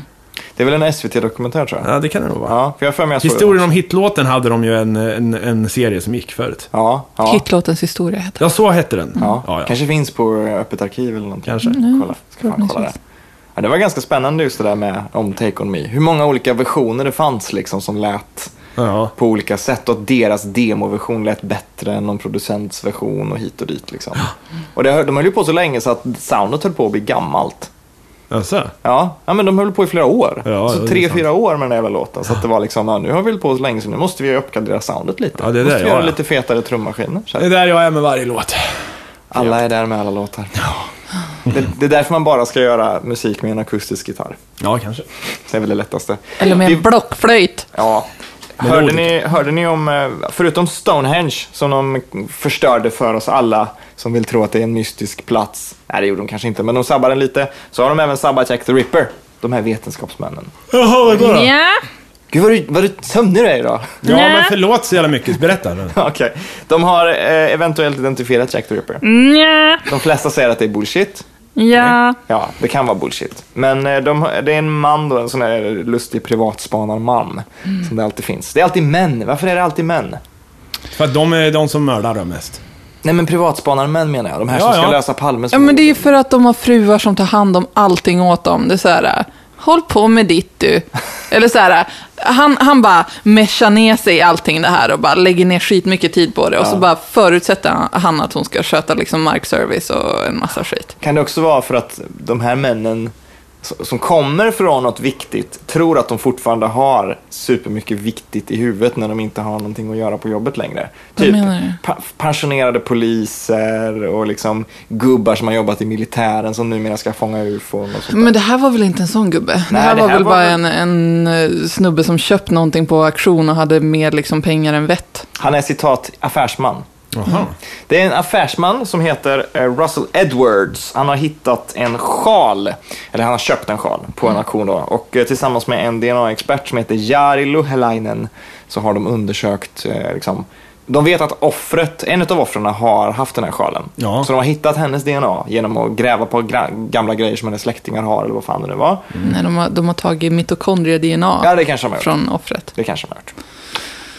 [SPEAKER 1] Det är väl en SVT-dokumentär tror jag.
[SPEAKER 2] Ja, det kan det nog vara.
[SPEAKER 1] Ja, för jag har för mig att jag såg
[SPEAKER 2] Historien
[SPEAKER 1] den.
[SPEAKER 2] om hitlåten hade de ju en, en, en serie som gick förut.
[SPEAKER 1] Ja, ja.
[SPEAKER 3] Hitlåtens historia heter
[SPEAKER 2] Ja, så hette den.
[SPEAKER 1] Ja.
[SPEAKER 2] Ja, ja.
[SPEAKER 1] Kanske finns på Öppet arkiv eller någonting.
[SPEAKER 2] Kanske.
[SPEAKER 1] Kolla. Ska fan kolla det.
[SPEAKER 3] förhoppningsvis.
[SPEAKER 1] Ja, det var ganska spännande just det där med om Take On Me. Hur många olika versioner det fanns liksom som lät
[SPEAKER 2] Ja.
[SPEAKER 1] på olika sätt och att deras demoversion lät bättre än någon producents version och hit och dit. Liksom. Och det, hö- de höll ju på så länge så att soundet höll på att bli gammalt.
[SPEAKER 2] Alltså.
[SPEAKER 1] Ja, ja men de höll på i flera år.
[SPEAKER 2] Ja, ja, det
[SPEAKER 1] så
[SPEAKER 2] är
[SPEAKER 1] tre,
[SPEAKER 2] sant.
[SPEAKER 1] fyra år med den där jävla låten. Så att det var liksom, ja, nu har vi hållit på så länge så nu måste vi uppgradera soundet lite.
[SPEAKER 2] Ja, det är
[SPEAKER 1] måste
[SPEAKER 2] det,
[SPEAKER 1] vi
[SPEAKER 2] ja,
[SPEAKER 1] göra
[SPEAKER 2] ja.
[SPEAKER 1] lite fetare trummaskiner. Så
[SPEAKER 2] Det är
[SPEAKER 1] här.
[SPEAKER 2] där jag är med varje låt.
[SPEAKER 1] Alla är där med alla låtar. Det, det är därför man bara ska göra musik med en akustisk gitarr.
[SPEAKER 2] Ja, kanske.
[SPEAKER 1] Det är väl det lättaste.
[SPEAKER 3] Eller med
[SPEAKER 1] Vi-
[SPEAKER 3] en blockflöjt.
[SPEAKER 1] Ja. Hörde ni, hörde ni om, eh, förutom Stonehenge, som de förstörde för oss alla som vill tro att det är en mystisk plats. Nej, det gjorde de kanske inte, men de sabbade den lite. Så har de även sabbat Jack the Ripper, de här vetenskapsmännen.
[SPEAKER 2] Jaha, vad då?
[SPEAKER 4] Ja.
[SPEAKER 1] Gud, vad du, vad du sömnig du är idag.
[SPEAKER 2] Ja, men förlåt så jävla mycket. Berätta nu.
[SPEAKER 1] <laughs> Okej. De har eh, eventuellt identifierat Jack the Ripper.
[SPEAKER 4] Ja.
[SPEAKER 1] De flesta säger att det är bullshit.
[SPEAKER 4] Ja.
[SPEAKER 1] Ja, det kan vara bullshit. Men eh, de, det är en man då, en sån här lustig privatspanarman. Som det alltid finns. Det är alltid män. Varför är det alltid män?
[SPEAKER 2] För att de är de som mördar dem mest.
[SPEAKER 1] Nej men privatspanarmän menar jag, de här
[SPEAKER 2] Ja,
[SPEAKER 1] som ska
[SPEAKER 2] ja.
[SPEAKER 1] lösa Palmes
[SPEAKER 3] Ja, men det är ju för att de har fruar som tar hand om allting åt dem. Det är så här, äh, håll på med ditt du. Eller så här, äh, han, han bara meshar ner sig i allting det här och bara lägger ner skitmycket tid på det. Och så bara förutsätter han- han att hon ska sköta liksom markservice och en massa skit.
[SPEAKER 1] Kan det också vara för att de här männen s- som kommer från något viktigt tror att de fortfarande har supermycket viktigt i huvudet när de inte har någonting att göra på jobbet längre. Typ
[SPEAKER 3] Vad menar du?
[SPEAKER 1] pa- pensionerade poliser och liksom gubbar som har jobbat i militären som numera ska fånga ufon och sånt där.
[SPEAKER 3] Men det här var väl inte en sån gubbe? det
[SPEAKER 1] Nej,
[SPEAKER 3] här
[SPEAKER 1] det
[SPEAKER 3] var
[SPEAKER 1] här
[SPEAKER 3] väl
[SPEAKER 1] var
[SPEAKER 3] bara
[SPEAKER 1] väl-
[SPEAKER 3] en, en eh, snubbe som köpt någonting på auktion och hade mer liksom pengar än vett.
[SPEAKER 1] Han är citat affärsman.
[SPEAKER 2] Jaha.
[SPEAKER 1] Det är en affärsman som heter eh, Russell Edwards. Han har hittat en sjal, eller han har köpt en sjal på
[SPEAKER 2] Mm.
[SPEAKER 1] en auktion då. Och eh, tillsammans med en DNA-expert som heter Jari Luhelainen så har de undersökt, eh, liksom, de vet att offret, en av offren har haft den här sjalen.
[SPEAKER 2] Ja.
[SPEAKER 1] Så de har hittat hennes DNA genom att gräva på gra- gamla grejer som hennes släktingar har eller vad fan det nu var.
[SPEAKER 2] Mm.
[SPEAKER 3] Nej, de, har, de har tagit mitokondrie-DNA
[SPEAKER 1] Ja, det kanske de har gjort.
[SPEAKER 3] från offret.
[SPEAKER 1] Det kanske de har gjort.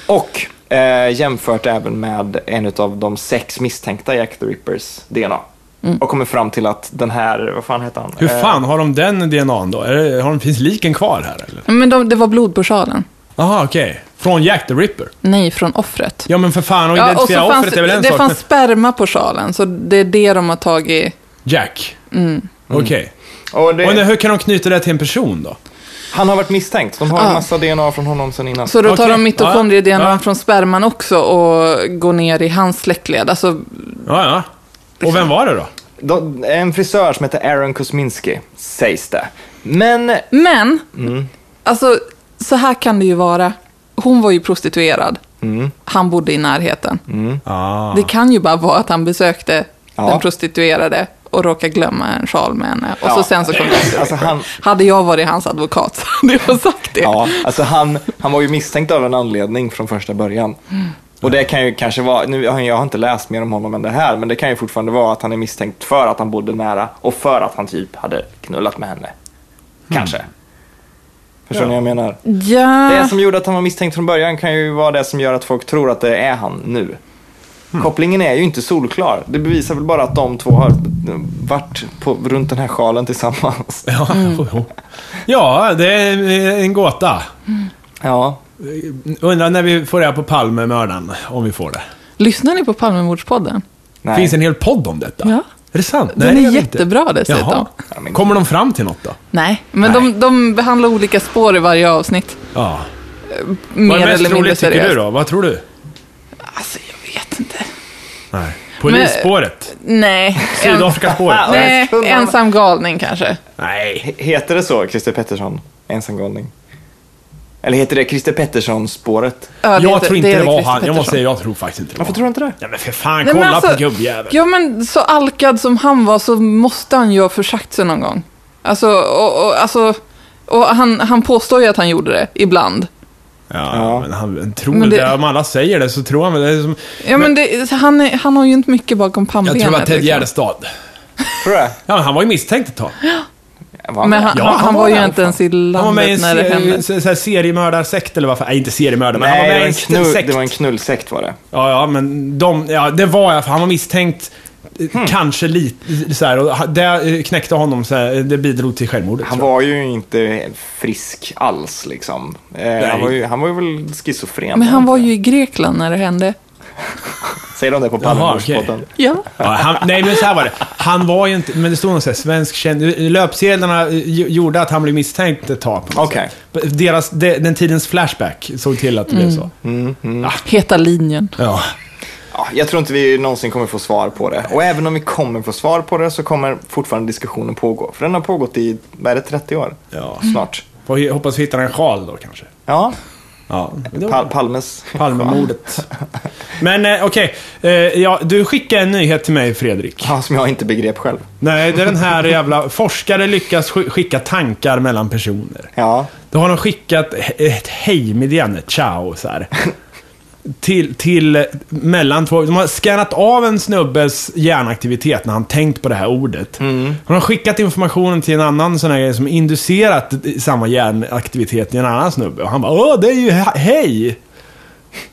[SPEAKER 1] Och eh, jämfört även med en av de sex misstänkta Jack the Rippers DNA.
[SPEAKER 3] Mm.
[SPEAKER 1] Och kommer fram till att den här, vad fan heter han?
[SPEAKER 2] Hur
[SPEAKER 1] Eh,
[SPEAKER 2] fan har de den DNAn då? Är det, har de, finns liken kvar här eller?
[SPEAKER 3] Men de, det var blod på sjalen.
[SPEAKER 2] Jaha, okej. Från Jack the Ripper?
[SPEAKER 3] Nej, från offret.
[SPEAKER 2] Ja, men för fan, att identifiera offret är väl en
[SPEAKER 3] det
[SPEAKER 2] sak.
[SPEAKER 3] fanns sperma på sjalen, så det är det de har tagit.
[SPEAKER 2] Jack?
[SPEAKER 3] Mm.
[SPEAKER 2] Okej.
[SPEAKER 1] och det,
[SPEAKER 2] Och när- hur kan de knyta det till en person då?
[SPEAKER 1] han har varit misstänkt. De har en
[SPEAKER 3] Ja.
[SPEAKER 1] massa DNA från honom sen innan.
[SPEAKER 3] Ah. Så då tar
[SPEAKER 2] Okej.
[SPEAKER 3] de mitokondrie-DNA
[SPEAKER 2] Ja, ja.
[SPEAKER 3] från sperman också och går ner i hans släktled. Alltså,
[SPEAKER 2] Ja, ja. Och vem var det då?
[SPEAKER 1] De, en frisör som heter Aaron Kosminski, sägs det. Men
[SPEAKER 3] men,
[SPEAKER 2] Mm.
[SPEAKER 3] alltså, så här kan det ju vara. Hon var ju prostituerad.
[SPEAKER 2] Mm.
[SPEAKER 3] Han bodde i närheten.
[SPEAKER 2] Ah.
[SPEAKER 3] Det kan ju bara vara att han besökte
[SPEAKER 1] Ja.
[SPEAKER 3] den prostituerade och råkade glömma en sjal med henne. Och så
[SPEAKER 1] Ja.
[SPEAKER 3] sen så kom det.
[SPEAKER 1] alltså han,
[SPEAKER 3] Hade jag varit hans advokat <laughs> så hade jag sagt det. <laughs>
[SPEAKER 1] Ja, alltså han, han var ju misstänkt av en anledning från första början. Och det kan ju kanske vara, nu har jag- jag har inte läst mer om honom än det här, men det kan ju fortfarande vara att han är misstänkt för att han bodde nära och för att han typ hade knullat med henne. Kanske. Förstår ni vad jag menar?
[SPEAKER 3] Ja.
[SPEAKER 1] Det som gjorde att han var misstänkt från början kan ju vara det som gör att folk tror att det är han nu. Kopplingen är ju inte solklar. Det bevisar väl bara att de två har varit på, runt den här sjalen tillsammans.
[SPEAKER 2] <laughs>
[SPEAKER 1] <laughs>
[SPEAKER 2] Ja,
[SPEAKER 3] Mm.
[SPEAKER 2] jo, jo. ja, det är en- en gåta.
[SPEAKER 1] Ja,
[SPEAKER 2] Undrar när vi får reda på Palmemördaren, om vi får det.
[SPEAKER 3] Lyssnar ni på Palmemordspodden?
[SPEAKER 1] nej.
[SPEAKER 2] Finns en hel podd om detta?
[SPEAKER 3] Ja.
[SPEAKER 2] Är det sant?
[SPEAKER 3] Den
[SPEAKER 2] det
[SPEAKER 3] är
[SPEAKER 2] gör vi inte.
[SPEAKER 3] jättebra dessutom.
[SPEAKER 2] Jaha.
[SPEAKER 1] Ja, men-
[SPEAKER 2] Kommer de fram till något då?
[SPEAKER 3] Nej, men De, de behandlar olika spår i varje avsnitt.
[SPEAKER 2] Ja. Vad
[SPEAKER 3] Mer
[SPEAKER 2] är mest
[SPEAKER 3] eller mindre
[SPEAKER 2] troligt tycker du
[SPEAKER 3] seriöst.
[SPEAKER 2] då? Vad tror du?
[SPEAKER 3] Alltså, jag vet inte.
[SPEAKER 2] Nej. Polisspåret?
[SPEAKER 3] Nej. En,
[SPEAKER 2] Sydafrikaspåret?
[SPEAKER 3] nej, ensam galning kanske.
[SPEAKER 2] Nej.
[SPEAKER 1] H- Heter det så, Christer Pettersson, ensamgalning? Eller heter det Christer Pettersson-spåret?
[SPEAKER 3] Ja,
[SPEAKER 2] Jag
[SPEAKER 3] heter-
[SPEAKER 2] tror inte det,
[SPEAKER 3] heter
[SPEAKER 2] var
[SPEAKER 3] Christer
[SPEAKER 2] han. Jag måste
[SPEAKER 3] Pettersson.
[SPEAKER 2] säga, jag tror faktiskt inte det var
[SPEAKER 1] Varför tror du inte det?
[SPEAKER 2] Nej men för fan,
[SPEAKER 3] Nej, men
[SPEAKER 2] kolla på
[SPEAKER 3] alltså,
[SPEAKER 2] gubbjäveln.
[SPEAKER 3] Ja, men så alkad som han var så måste han ju ha försagt sig någon gång. Alltså, och, och, alltså, och han, han påstår ju att han gjorde det ibland.
[SPEAKER 2] Ja,
[SPEAKER 1] Ja.
[SPEAKER 2] men han tror
[SPEAKER 3] Men
[SPEAKER 2] väl det...
[SPEAKER 3] det-
[SPEAKER 2] Om alla säger det så tror han väl det. Är som,
[SPEAKER 3] Ja, men det, han, är, han har ju inte mycket bakom
[SPEAKER 2] jag
[SPEAKER 3] pannbenet.
[SPEAKER 2] tror det var Ted
[SPEAKER 3] liksom.
[SPEAKER 2] Gärdestad.
[SPEAKER 1] Tror du det?
[SPEAKER 2] Ja, men han var ju misstänkt ett tag.
[SPEAKER 1] Va?
[SPEAKER 3] Men han,
[SPEAKER 2] Ja,
[SPEAKER 3] han,
[SPEAKER 2] han
[SPEAKER 3] var,
[SPEAKER 2] var
[SPEAKER 3] ju
[SPEAKER 2] där.
[SPEAKER 3] inte ens i
[SPEAKER 2] Han var med i
[SPEAKER 3] landet
[SPEAKER 2] en
[SPEAKER 3] när det hände.
[SPEAKER 2] se- så- så här seriemördarsekt eller vad fan. Nej, inte seriemördare, men han
[SPEAKER 1] Nej,
[SPEAKER 2] var med i
[SPEAKER 1] det var,
[SPEAKER 2] en
[SPEAKER 1] en
[SPEAKER 2] st-
[SPEAKER 1] knull,
[SPEAKER 2] sekt.
[SPEAKER 1] det var en knullsekt var det.
[SPEAKER 2] Ja, ja, men de, ja, det var jag, för han var misstänkt. eh, Kanske lite så här, och ha- det eh, knäckte honom så här, eh, det bidrog till självmordet.
[SPEAKER 1] Han
[SPEAKER 2] tror jag.
[SPEAKER 1] var ju inte frisk alls liksom. Eh, han, var ju, han var ju väl schizofren.
[SPEAKER 3] Men han var ju i Grekland när det hände.
[SPEAKER 1] Säger de det på Palmemordspodden?
[SPEAKER 2] okej.
[SPEAKER 3] Ja.
[SPEAKER 2] Ja, han, nej, men så här var det. Han var ju inte, men det stod någon så här, svensk känd... Löpsedlarna eh, gj- gjorde att han blev misstänkt ett tag. på något
[SPEAKER 1] Okej.
[SPEAKER 2] sätt. Deras, de, den tidens Flashback såg till att det blev så.
[SPEAKER 1] Mm.
[SPEAKER 3] Heta linjen.
[SPEAKER 2] Ja.
[SPEAKER 1] Ja, jag tror inte vi någonsin kommer få svar på det. Och även om vi kommer få svar på det så kommer fortfarande diskussionen pågå. För den har pågått i, vad är det, 30 år?
[SPEAKER 2] Ja.
[SPEAKER 1] Snart.
[SPEAKER 2] Får hi- Hoppas vi hittar en sjal då kanske.
[SPEAKER 1] Ja,
[SPEAKER 2] Ja, men det var-
[SPEAKER 1] Pal- Palmes. <laughs>
[SPEAKER 2] Palmemordet. <laughs> Men eh, okej, eh, ja, du skickade en nyhet till mig Fredrik.
[SPEAKER 1] Ja, som jag inte begrep själv.
[SPEAKER 2] Nej, det är den här jävla... Forskare lyckas sk- skicka tankar mellan personer.
[SPEAKER 1] Ja,
[SPEAKER 2] Då har de skickat he- ett hejmeddelande, ciao, så här. Till, till eh, mellan två... De har skannat av en snubbes hjärnaktivitet när han tänkt på det här ordet. Mm. Har de skickat informationen till en annan sån här grej som inducerat samma hjärnaktivitet i en annan snubbe. Och han bara åh, det är ju he- hej!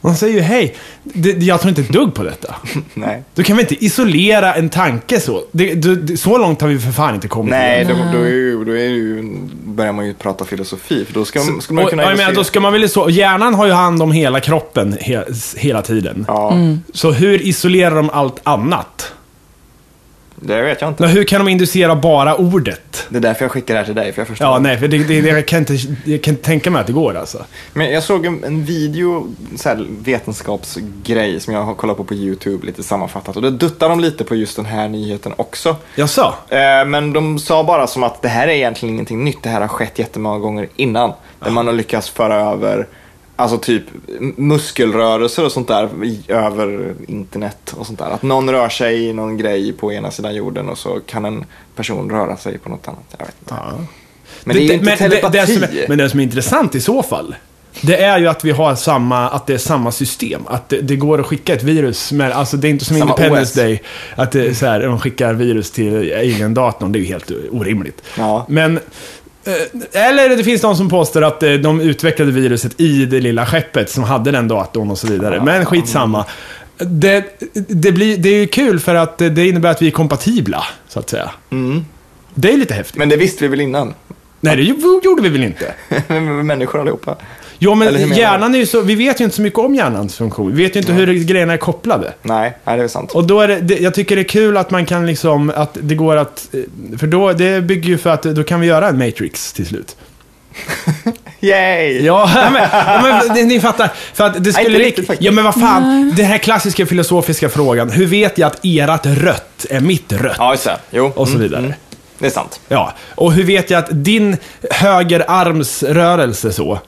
[SPEAKER 2] Man säger ju hej. Det, jag tror inte ett dugg på detta.
[SPEAKER 1] nej.
[SPEAKER 2] Då kan vi inte isolera en tanke så. Det, det, det, så långt har vi för fan inte kommit.
[SPEAKER 1] Nej, då, då, är ju, då är ju, börjar man ju prata filosofi. För då ska, skulle man
[SPEAKER 2] Mm. Och,
[SPEAKER 1] kunna...
[SPEAKER 2] jag menar,
[SPEAKER 1] illustrera-
[SPEAKER 2] då ska man väl så, hjärnan har ju hand om hela kroppen he, hela tiden.
[SPEAKER 1] Ja,
[SPEAKER 2] Så hur isolerar de allt annat?
[SPEAKER 1] det vet jag inte.
[SPEAKER 2] Men hur kan de inducera bara ordet?
[SPEAKER 1] Det är därför jag skickar det här till dig, för jag förstår.
[SPEAKER 2] Ja, nej, för det, det, det, jag, kan inte, jag kan inte tänka mig att det går alltså.
[SPEAKER 1] Men jag såg en, en video, så här vetenskapsgrej som jag har kollat på på YouTube lite sammanfattat. Och då duttar de lite på just den här nyheten också.
[SPEAKER 2] Jag sa.
[SPEAKER 1] Eh, Men de sa bara som att det här är egentligen ingenting nytt. Det här har skett jättemånga gånger innan. Där man har lyckats föra över alltså typ m- muskelrörelser och sånt där i- över internet och sånt där. Att någon rör sig i någon grej på ena sidan jorden och så kan en person röra sig på något annat. Jag vet inte. Men det är ju inte telepati.
[SPEAKER 2] Det, det som är, men det som är intressant i så fall, det är ju att vi har samma, att det är samma system. Att det, det går att skicka ett virus, men alltså det är inte som
[SPEAKER 1] Samma
[SPEAKER 2] Independence
[SPEAKER 1] OS.
[SPEAKER 2] Day, att det är så här, de skickar virus till alien-datorn, det är ju helt orimligt.
[SPEAKER 1] Ja.
[SPEAKER 2] Men, eh, eller det finns de som påstår att eh, de utvecklade viruset i det lilla skeppet som hade den datorn och så vidare. Men skitsamma. Det, det, blir, det är ju kul för att eh, det innebär att vi är kompatibla, så att säga.
[SPEAKER 1] Mm.
[SPEAKER 2] Det är lite häftigt.
[SPEAKER 1] Men det visste vi väl innan? <laughs>
[SPEAKER 2] Nej, det ju- gjorde vi väl inte?
[SPEAKER 1] Människor allihopa.
[SPEAKER 2] Jo,
[SPEAKER 1] Eller hur
[SPEAKER 2] men
[SPEAKER 1] menar du?
[SPEAKER 2] hjärnan är ju så... Vi vet ju inte så mycket om hjärnans funktion. Vi vet ju inte hur grejerna är kopplade.
[SPEAKER 1] Nej, nej det är sant.
[SPEAKER 2] Och då är det, det, jag tycker det är kul att man kan liksom, att det går att, eh, för då, det bygger ju för att då kan vi göra en Matrix till slut. <laughs>
[SPEAKER 1] Yay!
[SPEAKER 2] Ja, men, ja,
[SPEAKER 1] <laughs>
[SPEAKER 2] men ni, ni fattar. För att det skulle
[SPEAKER 1] inte
[SPEAKER 2] lik-
[SPEAKER 1] riktigt faktiskt.
[SPEAKER 2] Ja, men vad fan. Den här klassiska filosofiska frågan, hur vet jag att erat rött är mitt rött?
[SPEAKER 1] Ja, just det. Jo.
[SPEAKER 2] Och så
[SPEAKER 1] Mm,
[SPEAKER 2] vidare.
[SPEAKER 1] mm. Det är sant.
[SPEAKER 2] Ja, och hur vet jag att din högerarmsrörelse så,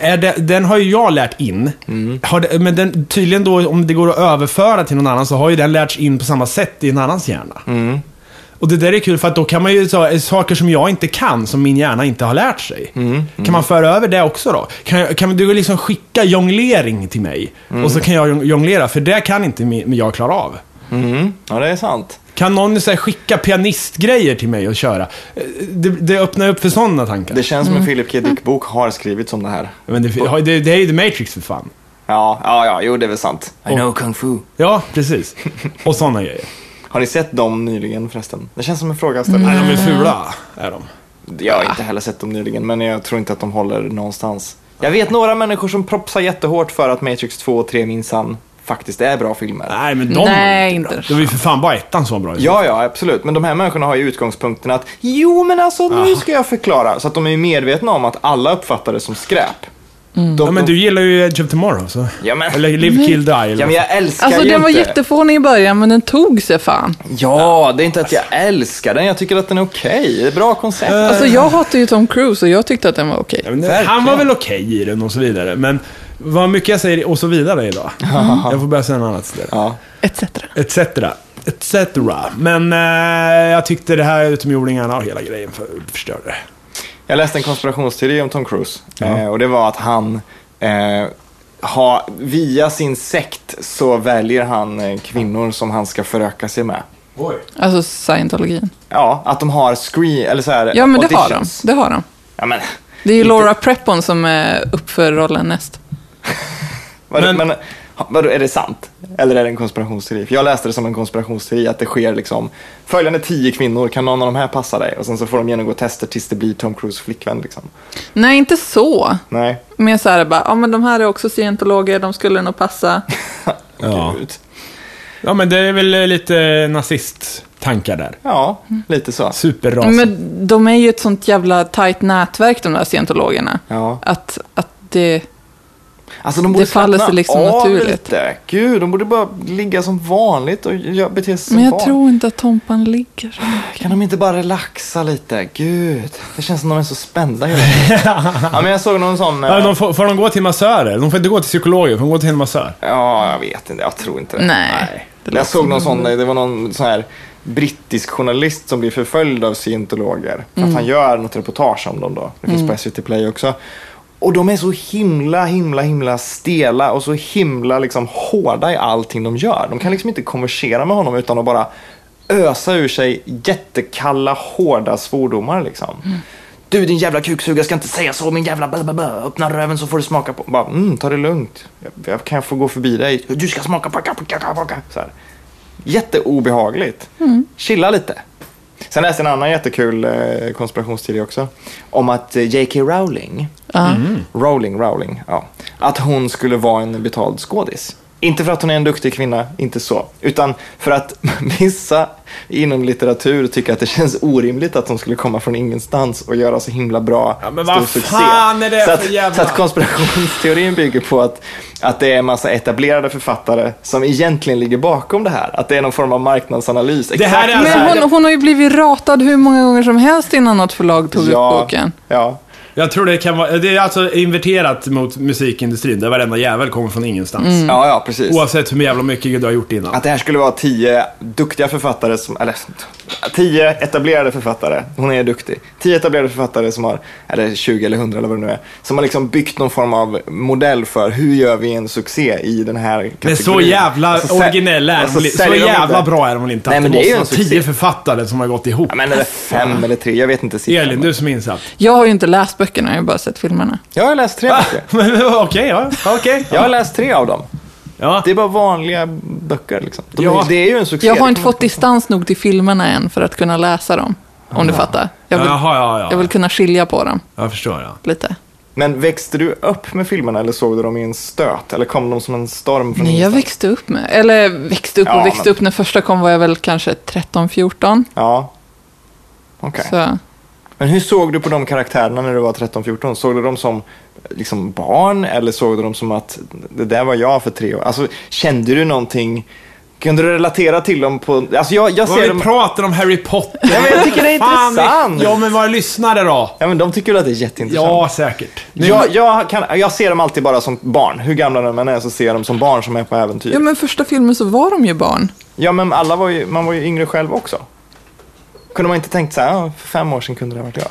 [SPEAKER 2] är det, den har ju jag lärt in. Har det, men den, tydligen då, om det går att överföra till någon annan, så har ju den lärts in på samma sätt i en annans hjärna. Och det där är kul för att då kan man ju, så, saker som jag inte kan, som min hjärna inte har lärt sig. Kan man föra över det också då? Kan, jag- kan du liksom skicka jonglering till mig? Och så kan jag jong- jonglera, för det kan inte mi- jag klara av.
[SPEAKER 1] Mm. Ja, det är sant.
[SPEAKER 2] Kan någon så här, skicka pianistgrejer till mig och köra? Eh, Det, det öppnar upp för sådana tankar.
[SPEAKER 1] Det känns som
[SPEAKER 3] Mm.
[SPEAKER 1] en Philip K. Dick-bok har skrivits om det här.
[SPEAKER 2] Men det, det, det är ju The Matrix för fan.
[SPEAKER 1] Ja, ja, ja, jo det är väl sant. I know kung fu.
[SPEAKER 2] Ja, precis. Och sådana grejer.
[SPEAKER 1] Har ni sett dem nyligen förresten? Det känns som en fråga att ställa.
[SPEAKER 2] Nej,
[SPEAKER 3] Mm.
[SPEAKER 2] de är fula, är de.
[SPEAKER 1] Jag har inte heller sett dem nyligen, men jag tror inte att de håller någonstans. Jag vet några människor som propsar jättehårt för att Matrix 2 och 3 minsann faktiskt är bra filmer.
[SPEAKER 2] Nej, men de
[SPEAKER 3] Nej,
[SPEAKER 2] är inte bra.
[SPEAKER 3] inte.
[SPEAKER 2] Det var ju för fan bara ettan som var bra.
[SPEAKER 1] Ja, ja, absolut. Men de här människorna har ju utgångspunkten att jo, men alltså nu ska jag förklara. Så att de är ju medvetna om att alla uppfattar det som skräp. De,
[SPEAKER 2] Mm. ja, men du gillar ju Edge of Tomorrow, så.
[SPEAKER 1] Ja, men-
[SPEAKER 2] Eller Live, Kill, Die. Eller
[SPEAKER 1] Ja, men jag älskar
[SPEAKER 3] Alltså
[SPEAKER 1] ju
[SPEAKER 3] den var
[SPEAKER 1] inte.
[SPEAKER 3] jättefånig i början, men den tog sig fan.
[SPEAKER 1] Ja, det är inte att jag älskar den. Jag tycker att den är okej. Det är ett bra koncept.
[SPEAKER 3] Alltså jag hatar ju Tom Cruise och jag tyckte att den var okej.
[SPEAKER 2] Ja, men det-
[SPEAKER 1] Verkligen.
[SPEAKER 2] han var väl okej i den och så vidare, men vad mycket jag säger och så vidare
[SPEAKER 1] <laughs>
[SPEAKER 2] idag. Jag får börja säga något annat ställe.
[SPEAKER 1] Ja.
[SPEAKER 3] Etc.
[SPEAKER 2] Etc. Etc. Men eh, jag tyckte det här utomjordingarna och hela grejen för, förstörde.
[SPEAKER 1] Jag läste en konspirationsteori om Tom Cruise. Eh, och det var att han, eh, ha, via sin sekt så väljer han eh, kvinnor som han ska föröka sig med.
[SPEAKER 2] Oj.
[SPEAKER 3] Alltså scientologin.
[SPEAKER 1] Ja, att de har screen, eller så här,
[SPEAKER 3] Ja, men det har de.
[SPEAKER 1] auditions.
[SPEAKER 3] Det har de.
[SPEAKER 1] Ja, men,
[SPEAKER 3] Det är ju
[SPEAKER 1] Inte-
[SPEAKER 3] Laura Prepon som är upp för rollen näst.
[SPEAKER 1] vad,
[SPEAKER 2] Men-
[SPEAKER 1] men, ha- vadå, är det sant? Eller är det en konspirationsteori? För jag läste det som en konspirationsteori, att det sker liksom följande tio kvinnor, kan någon av de här passa dig? Och sen så får de genomgå tester tills det blir Tom Cruise flickvän liksom.
[SPEAKER 3] Nej, inte så.
[SPEAKER 1] Nej,
[SPEAKER 3] Mer så här bara, ja men de här är också scientologer, de skulle nog passa.
[SPEAKER 2] Ja.
[SPEAKER 1] gud.
[SPEAKER 2] Ja, men det är väl eh, lite nazisttankar där.
[SPEAKER 1] Ja, lite så.
[SPEAKER 2] Superrasigt.
[SPEAKER 3] Men de är ju ett sånt jävla tajt nätverk de där scientologerna.
[SPEAKER 1] Ja.
[SPEAKER 3] Att, att det...
[SPEAKER 1] Alltså de borde
[SPEAKER 3] Det faller sig
[SPEAKER 1] slappna
[SPEAKER 3] liksom
[SPEAKER 1] av
[SPEAKER 3] naturligt.
[SPEAKER 1] Lite. Gud, de borde bara ligga som vanligt och gö- bete sig som
[SPEAKER 3] Men jag
[SPEAKER 1] barn.
[SPEAKER 3] tror inte att Tompan ligger.
[SPEAKER 1] Kan de inte bara relaxa lite? Gud, det känns som de är så spända hela tiden.
[SPEAKER 2] <laughs>
[SPEAKER 1] ja, men jag såg någon sån... eh,
[SPEAKER 2] Ja, de får, får de gå till massörer? De får inte gå till psykologer, får de gå till en massör?
[SPEAKER 1] Ja, jag vet inte. Jag tror inte det.
[SPEAKER 3] Nej. Det
[SPEAKER 1] Jag
[SPEAKER 3] låter
[SPEAKER 1] såg
[SPEAKER 3] som
[SPEAKER 1] någon
[SPEAKER 3] en
[SPEAKER 1] sån, det var någon sån här brittisk journalist som blir förföljd av scientologer. För
[SPEAKER 3] Mm.
[SPEAKER 1] att han gör något reportage om dem då. Det finns på SVT Play också. Och de är så himla, himla, himla stela och så himla liksom hårda i allting de gör. De kan liksom inte konversera med honom utan att bara ösa ur sig jättekalla, hårda svordomar liksom.
[SPEAKER 3] Mm.
[SPEAKER 1] Du din jävla kuksugare ska inte säga så min jävla blablabla. Öppna röven så får du smaka på. Bara, mm, ta det lugnt. Jag, jag kan få gå förbi dig. Du ska smaka på Så här. Jätteobehagligt. Chilla lite. Sen läste jag en annan jättekul eh, konspirationsteori också. Om att eh, J.K. Rowling,
[SPEAKER 2] Mm.
[SPEAKER 1] Rowling, Rowling, ja. Att hon skulle vara en betald skådis. Inte för att hon är en duktig kvinna, inte så. Utan för att <laughs> vissa inom litteratur tycker att det känns orimligt att hon skulle komma från ingenstans och göra så himla bra
[SPEAKER 2] Ja, men vad fan är det
[SPEAKER 1] så
[SPEAKER 2] för
[SPEAKER 1] att,
[SPEAKER 2] jävla-
[SPEAKER 1] Så att konspirationsteorin bygger på att, att det är en massa etablerade författare som egentligen ligger bakom det här. Att det är någon form av marknadsanalys.
[SPEAKER 2] Det här
[SPEAKER 1] Exakt
[SPEAKER 2] är
[SPEAKER 1] så
[SPEAKER 2] alltså-
[SPEAKER 1] här
[SPEAKER 3] Men
[SPEAKER 1] det-
[SPEAKER 3] hon, hon har ju blivit ratad hur många gånger som helst innan något förlag tog
[SPEAKER 1] ja,
[SPEAKER 3] upp boken.
[SPEAKER 1] Ja.
[SPEAKER 2] Jag tror det kan vara... Det är alltså inverterat mot musikindustrin, där varenda jävel kommer från ingenstans.
[SPEAKER 3] Mm.
[SPEAKER 1] ja, ja, precis.
[SPEAKER 2] Oavsett hur jävla mycket du har gjort innan.
[SPEAKER 1] Att det här skulle vara tio duktiga författare, som, eller tio etablerade författare, hon är duktig, tio etablerade författare som har, eller 20 eller 100 eller vad det nu är, som har liksom byggt någon form av modell för hur gör vi en succé i den här kategorin.
[SPEAKER 2] Men så jävla
[SPEAKER 1] Och så sä-
[SPEAKER 2] originella är
[SPEAKER 1] och
[SPEAKER 2] de väl- Så
[SPEAKER 1] säljer de
[SPEAKER 2] jävla
[SPEAKER 1] inte.
[SPEAKER 2] bra är de väl inte?
[SPEAKER 1] Nej,
[SPEAKER 2] att
[SPEAKER 1] men
[SPEAKER 2] det
[SPEAKER 1] det är ju
[SPEAKER 2] måste
[SPEAKER 1] en
[SPEAKER 2] vara
[SPEAKER 1] succé.
[SPEAKER 2] tio författare som har gått ihop.
[SPEAKER 1] Ja, men är det fem eller tre, jag vet inte siffran.
[SPEAKER 2] Elin, du som är insatt.
[SPEAKER 3] Jag har ju inte läst böckerna, jag har ju bara sett filmerna.
[SPEAKER 1] Jag har läst tre böcker. <laughs>
[SPEAKER 2] Men Okej, ja. Okej.
[SPEAKER 1] Jag har läst tre av dem.
[SPEAKER 2] Ja.
[SPEAKER 1] Det är bara vanliga böcker liksom. De,
[SPEAKER 2] Ja.
[SPEAKER 1] ja. Det är ju en succé.
[SPEAKER 3] Jag har
[SPEAKER 1] Det
[SPEAKER 3] inte
[SPEAKER 1] kommer-
[SPEAKER 3] fått distans nog till filmerna än för att kunna läsa dem. Om du fattar. Jag vill,
[SPEAKER 2] Jaha, ja, ja.
[SPEAKER 3] jag vill kunna skilja på dem
[SPEAKER 2] Jag förstår, ja.
[SPEAKER 3] lite.
[SPEAKER 1] Men växte du upp med filmerna eller såg du dem i en stöt? Eller kom de som en storm från
[SPEAKER 3] Nej, jag
[SPEAKER 1] ingenstans?
[SPEAKER 3] växte upp med, eller växte upp och
[SPEAKER 1] Ja,
[SPEAKER 3] växte
[SPEAKER 1] men-
[SPEAKER 3] upp. När första kom var jag väl kanske 13-14.
[SPEAKER 1] Ja. Okej.
[SPEAKER 3] Så,
[SPEAKER 1] Men hur såg du på de karaktärerna när du var 13-14? Såg du dem som liksom barn eller såg du dem som att det där var jag för tre år? Alltså, kände du någonting? Kunde du relatera till dem på... Alltså, jag, jag
[SPEAKER 2] Vad
[SPEAKER 1] ser
[SPEAKER 2] vi
[SPEAKER 1] dem...
[SPEAKER 2] pratar om Harry Potter.
[SPEAKER 1] Ja, men jag tycker det är
[SPEAKER 2] Fan, vi-
[SPEAKER 1] intressant.
[SPEAKER 2] Ja, men våra lyssnare då?
[SPEAKER 1] Ja, men de tycker väl att det är jätteintressant?
[SPEAKER 2] Ja, säkert.
[SPEAKER 1] Jag, jag, kan, jag ser dem alltid bara som barn. Hur gamla de än är så ser jag dem som barn som är på äventyr.
[SPEAKER 3] ja, men första filmen så var de ju barn.
[SPEAKER 1] Ja, men alla var ju, man var ju yngre själv också. Kunde man inte tänkt så här, "Ja, för fem år sedan kunde det ha varit jag.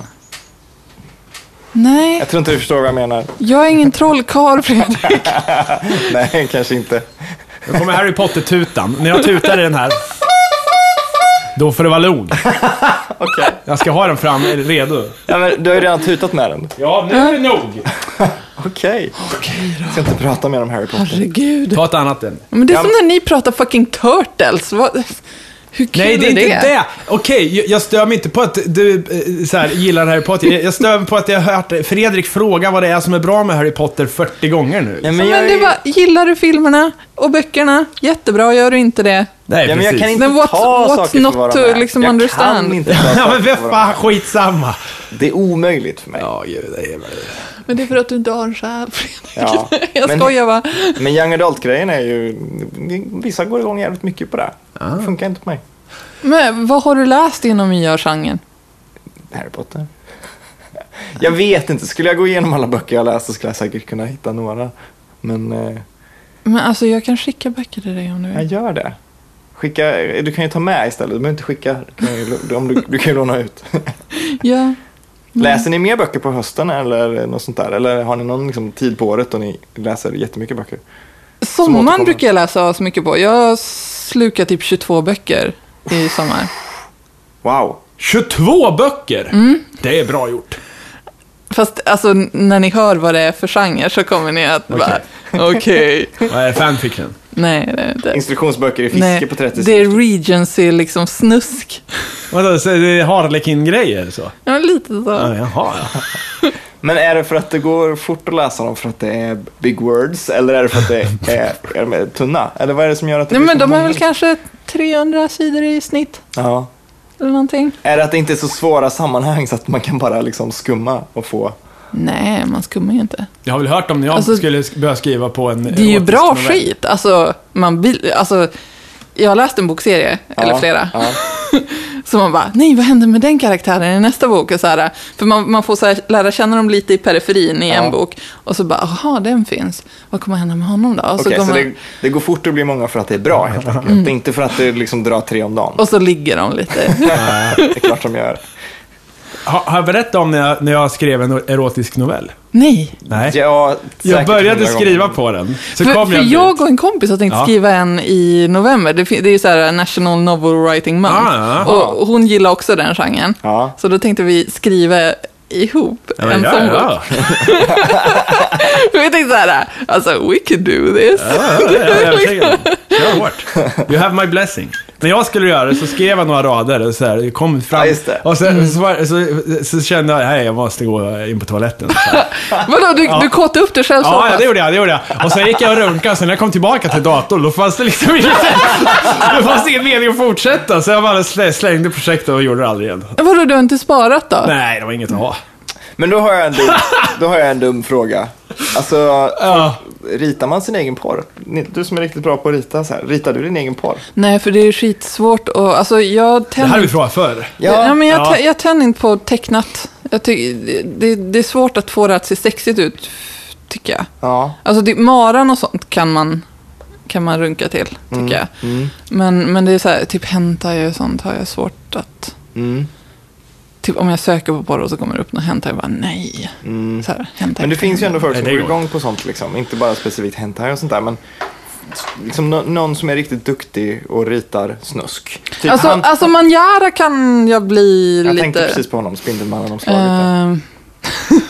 [SPEAKER 3] Nej,
[SPEAKER 1] Jag tror inte du förstår vad jag menar. <laughs>
[SPEAKER 3] jag är ingen trollkarl, Fredrik.
[SPEAKER 1] Nej, kanske inte.
[SPEAKER 2] Nu kommer Harry Potter-tutan. När jag tutar i den här... Då får det vara lugn.
[SPEAKER 1] Okej.
[SPEAKER 2] Jag ska ha den fram är du redo.
[SPEAKER 1] Ja, men du har ju redan tutat med den.
[SPEAKER 2] Ja, nu är det nog.
[SPEAKER 1] Okej. Jag ska inte prata mer om Harry Potter.
[SPEAKER 3] Herregud.
[SPEAKER 2] Ta ett annat än.
[SPEAKER 3] Men det är
[SPEAKER 1] Ja,
[SPEAKER 3] som när ni pratar fucking turtles. Vad, hur kul
[SPEAKER 2] Nej, det är inte
[SPEAKER 3] det?
[SPEAKER 2] det. Okej, jag- jag stör mig inte på att du eh, så här, gillar Harry Potter. Jag- Jag stör mig på att jag har hört Fredrik fråga vad det är som är bra med Harry Potter 40 gånger nu.
[SPEAKER 1] Ja,
[SPEAKER 3] Men,
[SPEAKER 1] jag,
[SPEAKER 3] det
[SPEAKER 1] är-
[SPEAKER 3] var, gillar du filmerna och böckerna? Jättebra, gör du inte det?
[SPEAKER 2] Nej,
[SPEAKER 1] ja, men jag kan inte
[SPEAKER 3] Men what's-
[SPEAKER 1] ta
[SPEAKER 3] what's
[SPEAKER 1] saker
[SPEAKER 3] not
[SPEAKER 1] för vad de
[SPEAKER 3] to,
[SPEAKER 1] är.
[SPEAKER 3] liksom,
[SPEAKER 1] jag
[SPEAKER 3] understand?
[SPEAKER 1] Kan inte ta
[SPEAKER 2] <laughs> Ja, men
[SPEAKER 1] saker
[SPEAKER 2] vad
[SPEAKER 1] för vad de
[SPEAKER 2] fan, skitsamma.
[SPEAKER 1] är. Det är omöjligt för mig.
[SPEAKER 2] Ja, gud, det är...
[SPEAKER 3] Men det är för att du inte har en själ, Fredrik.
[SPEAKER 1] Ja,
[SPEAKER 3] <laughs> Jag
[SPEAKER 1] men-
[SPEAKER 3] skojar bara.
[SPEAKER 1] Men young adult-grejen är ju... Vissa går igång jävligt mycket på det.
[SPEAKER 3] Ah.
[SPEAKER 1] Det funkar inte på mig.
[SPEAKER 3] Men vad har du läst inom YA-genren?
[SPEAKER 1] Harry Potter. Jag vet inte, skulle jag gå igenom alla böcker jag läst så skulle jag säkert kunna hitta några. Men eh,
[SPEAKER 3] Men alltså jag kan skicka böcker till dig om du
[SPEAKER 1] jag
[SPEAKER 3] vill.
[SPEAKER 1] gör det. Skicka,
[SPEAKER 3] Mm.
[SPEAKER 1] du kan ju ta med istället, du behöver inte skicka. Du kan ju, om du, du kan ju låna ut.
[SPEAKER 3] Ja.
[SPEAKER 1] Läser ni mer böcker på hösten eller något sånt där? Eller har ni någon liksom, tid på året då ni läser jättemycket böcker? återkommer.
[SPEAKER 3] Sommaren brukar jag läsa så mycket på. Jag slukar typ 22 böcker i sommar.
[SPEAKER 1] Wow!
[SPEAKER 2] 22 böcker!
[SPEAKER 3] Mm.
[SPEAKER 2] Det är bra gjort.
[SPEAKER 3] Fast alltså, n- när ni hör vad det är för genre så kommer ni att bara, okej.
[SPEAKER 2] <laughs> Vad är fanfiction?
[SPEAKER 3] Nej, det är inte.
[SPEAKER 1] Instruktionsböcker i fiske
[SPEAKER 3] Nej,
[SPEAKER 1] på 30
[SPEAKER 3] det är
[SPEAKER 1] sidor.
[SPEAKER 3] Regency, liksom snusk.
[SPEAKER 2] Vadå, så är det Harlequin-grejer så?
[SPEAKER 3] Ja, men lite så.
[SPEAKER 2] Ja, jaha, ja.
[SPEAKER 1] Men är det för att det går fort att läsa dem för att det är big words? Eller är det för
[SPEAKER 2] <laughs>
[SPEAKER 1] att det är, är de är tunna? Eller vad är det som gör att det
[SPEAKER 3] Nej,
[SPEAKER 1] blir
[SPEAKER 3] men
[SPEAKER 1] så
[SPEAKER 3] de är
[SPEAKER 1] många?
[SPEAKER 3] väl kanske 300 sidor i snitt,
[SPEAKER 1] Ja.
[SPEAKER 3] eller någonting.
[SPEAKER 1] Är det att det inte är så svåra sammanhang så att man kan bara liksom skumma och få...
[SPEAKER 3] Nej, man skummar ju inte.
[SPEAKER 2] Jag har väl hört om när jag
[SPEAKER 3] Alltså,
[SPEAKER 2] skulle sk- börja skriva på en
[SPEAKER 3] Det är ju
[SPEAKER 2] erotisk
[SPEAKER 3] bra
[SPEAKER 2] novell.
[SPEAKER 3] skit. Alltså, man, bil- alltså, jag har läst en bokserie, eller
[SPEAKER 1] Ja,
[SPEAKER 3] flera,
[SPEAKER 1] Ja.
[SPEAKER 3] så man bara, nej, vad händer med den karaktären i nästa bok? Och så här, för man, man får så här, lära känna dem lite i periferin i
[SPEAKER 1] Ja.
[SPEAKER 3] en bok, och så bara, aha, den finns. Vad kommer hända med honom då? Och så,
[SPEAKER 1] Okej,
[SPEAKER 3] Mm. går
[SPEAKER 1] så
[SPEAKER 3] man,
[SPEAKER 1] det, det går fort att bli många för att det är bra helt enkelt. Det är inte för att du liksom drar tre om dagen.
[SPEAKER 3] och så ligger de lite. <laughs>
[SPEAKER 1] det är klart de gör.
[SPEAKER 2] Har, har jag berättat om när jag, när jag skrev en erotisk novell?
[SPEAKER 3] nej,
[SPEAKER 2] Nej.
[SPEAKER 1] Ja,
[SPEAKER 2] Jag
[SPEAKER 1] säkert
[SPEAKER 2] började
[SPEAKER 1] hundra gånger.
[SPEAKER 2] skriva på den. Så
[SPEAKER 3] för,
[SPEAKER 2] kom
[SPEAKER 3] för
[SPEAKER 2] jag dit.
[SPEAKER 3] jag och en kompis har tänkt
[SPEAKER 2] Ja.
[SPEAKER 3] skriva en i november. Det, fin- det är ju så här National Novel Writing Month.
[SPEAKER 2] Ah, ja.
[SPEAKER 3] och hon gillar också den genren.
[SPEAKER 1] Ja.
[SPEAKER 3] Så då tänkte vi skriva ihop
[SPEAKER 2] Ja,
[SPEAKER 3] en
[SPEAKER 2] men, ja,
[SPEAKER 3] sån bok. <laughs>
[SPEAKER 2] ja.
[SPEAKER 3] Vi tänkte så här, alltså we could do this.
[SPEAKER 2] Ja, det är jag övertygad om. Kör hårt. You have my blessing. När jag skulle göra det så skrev jag några rader och så här, det kom fram.
[SPEAKER 1] Ja, just det.
[SPEAKER 2] Och sen så, var- så, så, kände jag, nej jag måste gå in på toaletten. <laughs> Så här.
[SPEAKER 3] Vadå, du, du kåtade upp dig själv så
[SPEAKER 2] Ja, ja,
[SPEAKER 3] pass?
[SPEAKER 2] det gjorde jag, det gjorde jag. Och sen gick jag och runkade, sen när jag kom tillbaka till datorn, då fanns det liksom ingen, <laughs> det fanns ingen mening att fortsätta. Så jag bara slä- slängde projektet och gjorde det aldrig igen.
[SPEAKER 3] Vadå, du har inte sparat då?
[SPEAKER 2] Nej, det var inget att ha.
[SPEAKER 1] Men då har jag
[SPEAKER 2] <laughs>
[SPEAKER 1] en dum, då har jag en dum fråga. Alltså,
[SPEAKER 2] Ja.
[SPEAKER 1] ritar man sin egen porr? Ni- Du som är riktigt bra på att rita så här, ritar du din egen porr?
[SPEAKER 3] Nej, för det är ju skitsvårt och alltså jag
[SPEAKER 2] Det här har
[SPEAKER 3] tänder...
[SPEAKER 2] vi frågat förr.
[SPEAKER 1] Ja.
[SPEAKER 3] Ja, men jag,
[SPEAKER 2] Ja.
[SPEAKER 3] tä- jag tänder inte på tecknat. Jag ty- det, det är svårt att få det att se sexigt ut, tycker jag.
[SPEAKER 1] Ja.
[SPEAKER 3] Alltså det, maran och sånt kan man, kan man runka till, tycker
[SPEAKER 1] Mm,
[SPEAKER 3] jag. Men, men det är så här, typ hentai och sånt har jag svårt att...
[SPEAKER 1] Mm.
[SPEAKER 3] Typ om jag söker på porr och så kommer det upp något hentai, jag bara nej. Så här, hentai.
[SPEAKER 1] Mm. Men det finns ju ändå folk som
[SPEAKER 2] Nej, det
[SPEAKER 1] går
[SPEAKER 2] går.
[SPEAKER 1] igång på sånt, liksom. inte bara specifikt hentai och sånt där. Men liksom nå- någon som är riktigt duktig och ritar snusk. Typ
[SPEAKER 3] Alltså,
[SPEAKER 1] han,
[SPEAKER 3] alltså Manjara kan jag bli
[SPEAKER 1] jag
[SPEAKER 3] lite...
[SPEAKER 1] tänkte precis på honom, Spindelmannen om slaget. där.
[SPEAKER 3] Ehm. <laughs>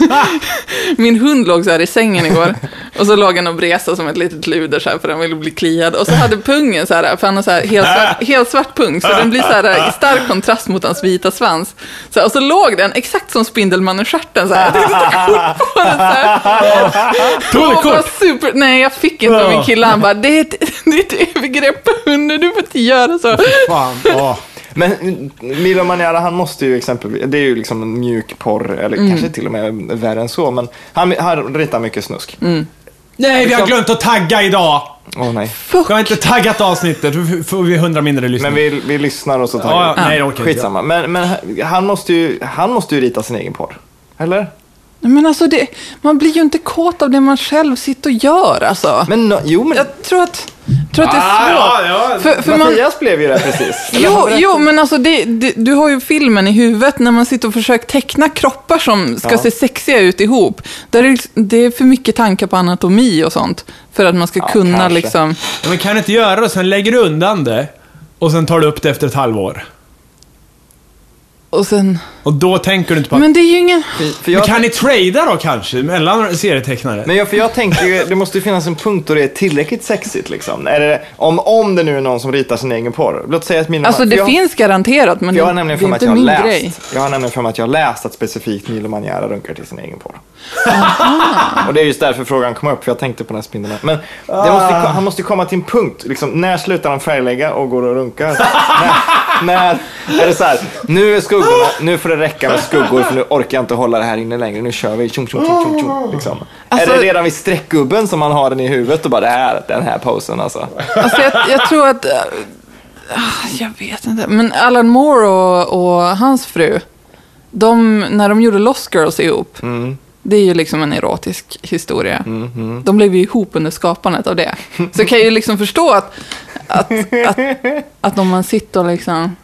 [SPEAKER 3] Min hund låg så här i sängen igår och så låg han och vresade som ett litet luder så här för den ville bli kliad. Och så hade pungen så här, för han har så här helt svart, helt svart pung, så den blir så här i stark kontrast mot hans vita svans. Så här, och så låg den exakt som Spindelmannen-stjärten så här. Jag tänkte ta kort på den så här.
[SPEAKER 2] Tog du
[SPEAKER 3] Och bara
[SPEAKER 2] kort?
[SPEAKER 3] super... Nej, jag fick inte av min kille. Han bara, det är ett, <laughs> det är ett övergrepp på hunden, du får inte göra så.
[SPEAKER 2] Fan. Ja.
[SPEAKER 1] <laughs> Men mm, Milo Maniara, han måste ju exempelvis, det är ju liksom en mjuk porr, eller
[SPEAKER 3] Mm.
[SPEAKER 1] kanske till och med värre än så, men han, han ritar mycket snusk.
[SPEAKER 3] Mm.
[SPEAKER 1] Åh
[SPEAKER 2] Nej,
[SPEAKER 1] Liksom-
[SPEAKER 2] vi har glömt att tagga idag!
[SPEAKER 1] nej.
[SPEAKER 2] Jag har inte taggat avsnittet, då får vi hundra mindre lyssnare.
[SPEAKER 1] Men vi, vi lyssnar och så tar
[SPEAKER 2] Ja,
[SPEAKER 1] vi
[SPEAKER 2] ja, nej, det orkar jag inte.
[SPEAKER 1] Skitsamma. Men, men han, måste ju, han måste ju rita sin egen porr. Eller?
[SPEAKER 3] Nej, Men alltså, det, man blir ju inte kåt av det man själv sitter och gör alltså.
[SPEAKER 1] Men no, jo, men
[SPEAKER 3] Jag tror att, tror att det är
[SPEAKER 2] Ah,
[SPEAKER 3] svårt.
[SPEAKER 2] ja, ja.
[SPEAKER 3] För, för man,
[SPEAKER 1] Mattias blev ju det precis. Eller han
[SPEAKER 3] <laughs> jo,
[SPEAKER 1] berättade-
[SPEAKER 3] jo, men alltså det, det, du har ju filmen i huvudet när man sitter och försöker teckna kroppar som ska
[SPEAKER 1] Ja.
[SPEAKER 3] se sexiga ut ihop. Där är, det- det är för mycket tankar på anatomi och sånt för att man ska kunna
[SPEAKER 1] kanske.
[SPEAKER 3] liksom...
[SPEAKER 2] Ja, Men kan du inte göra det? Sen lägger du undan det och sen tar du upp det efter ett halvår.
[SPEAKER 3] Och sen...
[SPEAKER 2] Och då tänker du inte på att... Men,
[SPEAKER 3] Men det är ju ingen...
[SPEAKER 1] För jag,
[SPEAKER 2] kan ni trada då kanske? Mellan serietecknare?
[SPEAKER 1] men jag, för jag tänker ju, det måste ju finnas en punkt då det är tillräckligt sexigt liksom. Är det, om, om det nu är någon som ritar sin egen porr. Låt säga att Milo
[SPEAKER 3] Alltså
[SPEAKER 1] för
[SPEAKER 3] det
[SPEAKER 1] jag,
[SPEAKER 3] finns garanterat, men
[SPEAKER 1] för
[SPEAKER 3] det,
[SPEAKER 1] Jag
[SPEAKER 3] det
[SPEAKER 1] har nämligen för
[SPEAKER 3] är
[SPEAKER 1] mig att
[SPEAKER 3] inte
[SPEAKER 1] jag har
[SPEAKER 3] min
[SPEAKER 1] läst.
[SPEAKER 3] grej.
[SPEAKER 1] Jag har nämligen för mig att jag har läst att specifikt Milo Maniera runkar till sin egen porr. Och det är just därför frågan kom upp, för jag tänkte på den här spindeln. Men det måste,
[SPEAKER 3] Ah.
[SPEAKER 1] ju ko- han måste ju komma till en punkt, liksom, när slutar han färglägga och går och runkar? när, när är det så här, nu är skuggorna, nu får det räcka med skuggor för nu orkar jag inte hålla det här inne längre, nu kör vi, tjong tjong tjong tjong tjong. Liksom.
[SPEAKER 3] Alltså-
[SPEAKER 1] är det redan vid streckgubben som man har den i huvudet och bara, det här, den här posen alltså.
[SPEAKER 3] Alltså jag, jag tror att... äh, ah, jag vet inte. Men Alan Moore och, och hans fru, de, när de gjorde Lost Girls ihop,
[SPEAKER 1] Mm.
[SPEAKER 3] det är ju liksom en erotisk historia. De blev ju ihop under skapandet av det. Så jag kan ju liksom förstå att, att, att, att om man sitter och liksom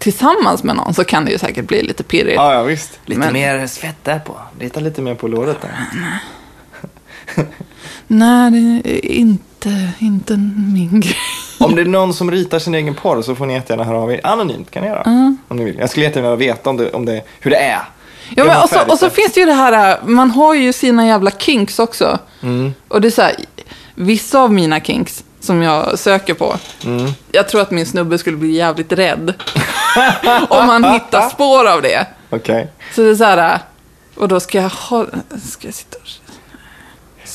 [SPEAKER 3] tillsammans med någon så kan det ju säkert bli lite pirrigt.
[SPEAKER 1] Ja, ja visst.
[SPEAKER 4] Lite
[SPEAKER 3] Men-
[SPEAKER 4] mer svett där på.
[SPEAKER 1] Lita lite mer på låret där.
[SPEAKER 3] Nej, det är inte, inte min grej.
[SPEAKER 1] Om det är någon som ritar sin egen porr så får ni jättegärna höra av er. Anonymt kan ni göra. Om ni vill. Jag skulle jättegärna vilja veta om det, om det, hur det är.
[SPEAKER 3] Ja,
[SPEAKER 1] Är
[SPEAKER 3] men
[SPEAKER 1] man
[SPEAKER 3] och, så, och så
[SPEAKER 1] färdigställd?
[SPEAKER 3] finns det ju det här, äh, man har ju sina jävla kinks också.
[SPEAKER 1] Mm.
[SPEAKER 3] Och det är så här, vissa av mina kinks som jag söker på,
[SPEAKER 1] Mm.
[SPEAKER 3] jag tror att min snubbe skulle bli jävligt rädd <laughs> om han hittar spår av det.
[SPEAKER 1] Okej.
[SPEAKER 3] Så det är så här, äh, och då ska jag ha, ska jag sitta och...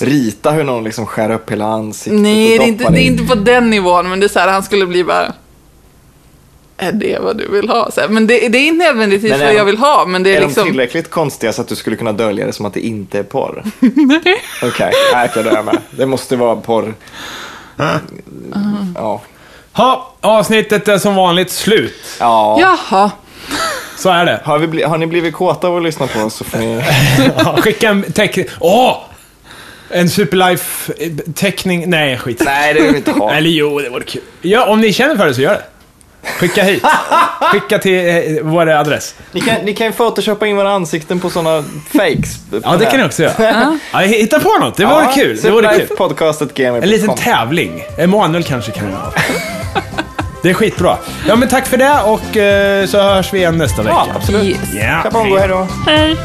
[SPEAKER 1] Rita hur någon liksom skär upp hela ansiktet
[SPEAKER 3] Nej,
[SPEAKER 1] och
[SPEAKER 3] det är, inte,
[SPEAKER 1] doppar
[SPEAKER 3] det är
[SPEAKER 1] in.
[SPEAKER 3] inte på den nivån, men det är så här, han skulle bli bara, är det vad du vill ha? Så här, men det, det är inte nödvändigtvis
[SPEAKER 1] Men är
[SPEAKER 3] vad
[SPEAKER 1] de-
[SPEAKER 3] jag vill ha, men det är,
[SPEAKER 1] Är de
[SPEAKER 3] liksom...
[SPEAKER 1] tillräckligt konstiga så att du skulle kunna dölja det som att det inte är
[SPEAKER 3] <laughs>
[SPEAKER 1] porr? Okej, Nej, okej, då är jag med. Det måste vara porr. Ja.
[SPEAKER 2] Ha, avsnittet är som vanligt slut.
[SPEAKER 1] ja.
[SPEAKER 3] Jaha.
[SPEAKER 2] Så är
[SPEAKER 1] <laughs>
[SPEAKER 2] det.
[SPEAKER 1] Har, vi bli, har ni blivit kåta av att lyssna på oss så får ni...
[SPEAKER 2] <laughs> Skicka en teckning. Åh! En Superlife-teckning. Nej, skit.
[SPEAKER 1] Nej, det vill vi inte ha.
[SPEAKER 2] Eller jo, det vore kul. Ja, om ni känner för det så gör det. Skicka
[SPEAKER 1] <laughs>
[SPEAKER 2] hit. Skicka till eh, vår adress.
[SPEAKER 1] Ni kan, ni kan ju photoshoppa in våra ansikten på sådana fakes.
[SPEAKER 2] Ja, det kan ni också göra. Ja, hitta på något. Det vore kul. Det vore kul.
[SPEAKER 1] Podcastetgamer.com.
[SPEAKER 2] En liten tävling. Emanuel kanske kan
[SPEAKER 1] <laughs>
[SPEAKER 2] göra något. Det är skitbra. Ja, men tack för det och eh, så hörs vi igen nästa vecka.
[SPEAKER 1] Ja, absolut.
[SPEAKER 3] Yes.
[SPEAKER 2] Ja,
[SPEAKER 1] Kapongo, hej då.
[SPEAKER 3] Hej.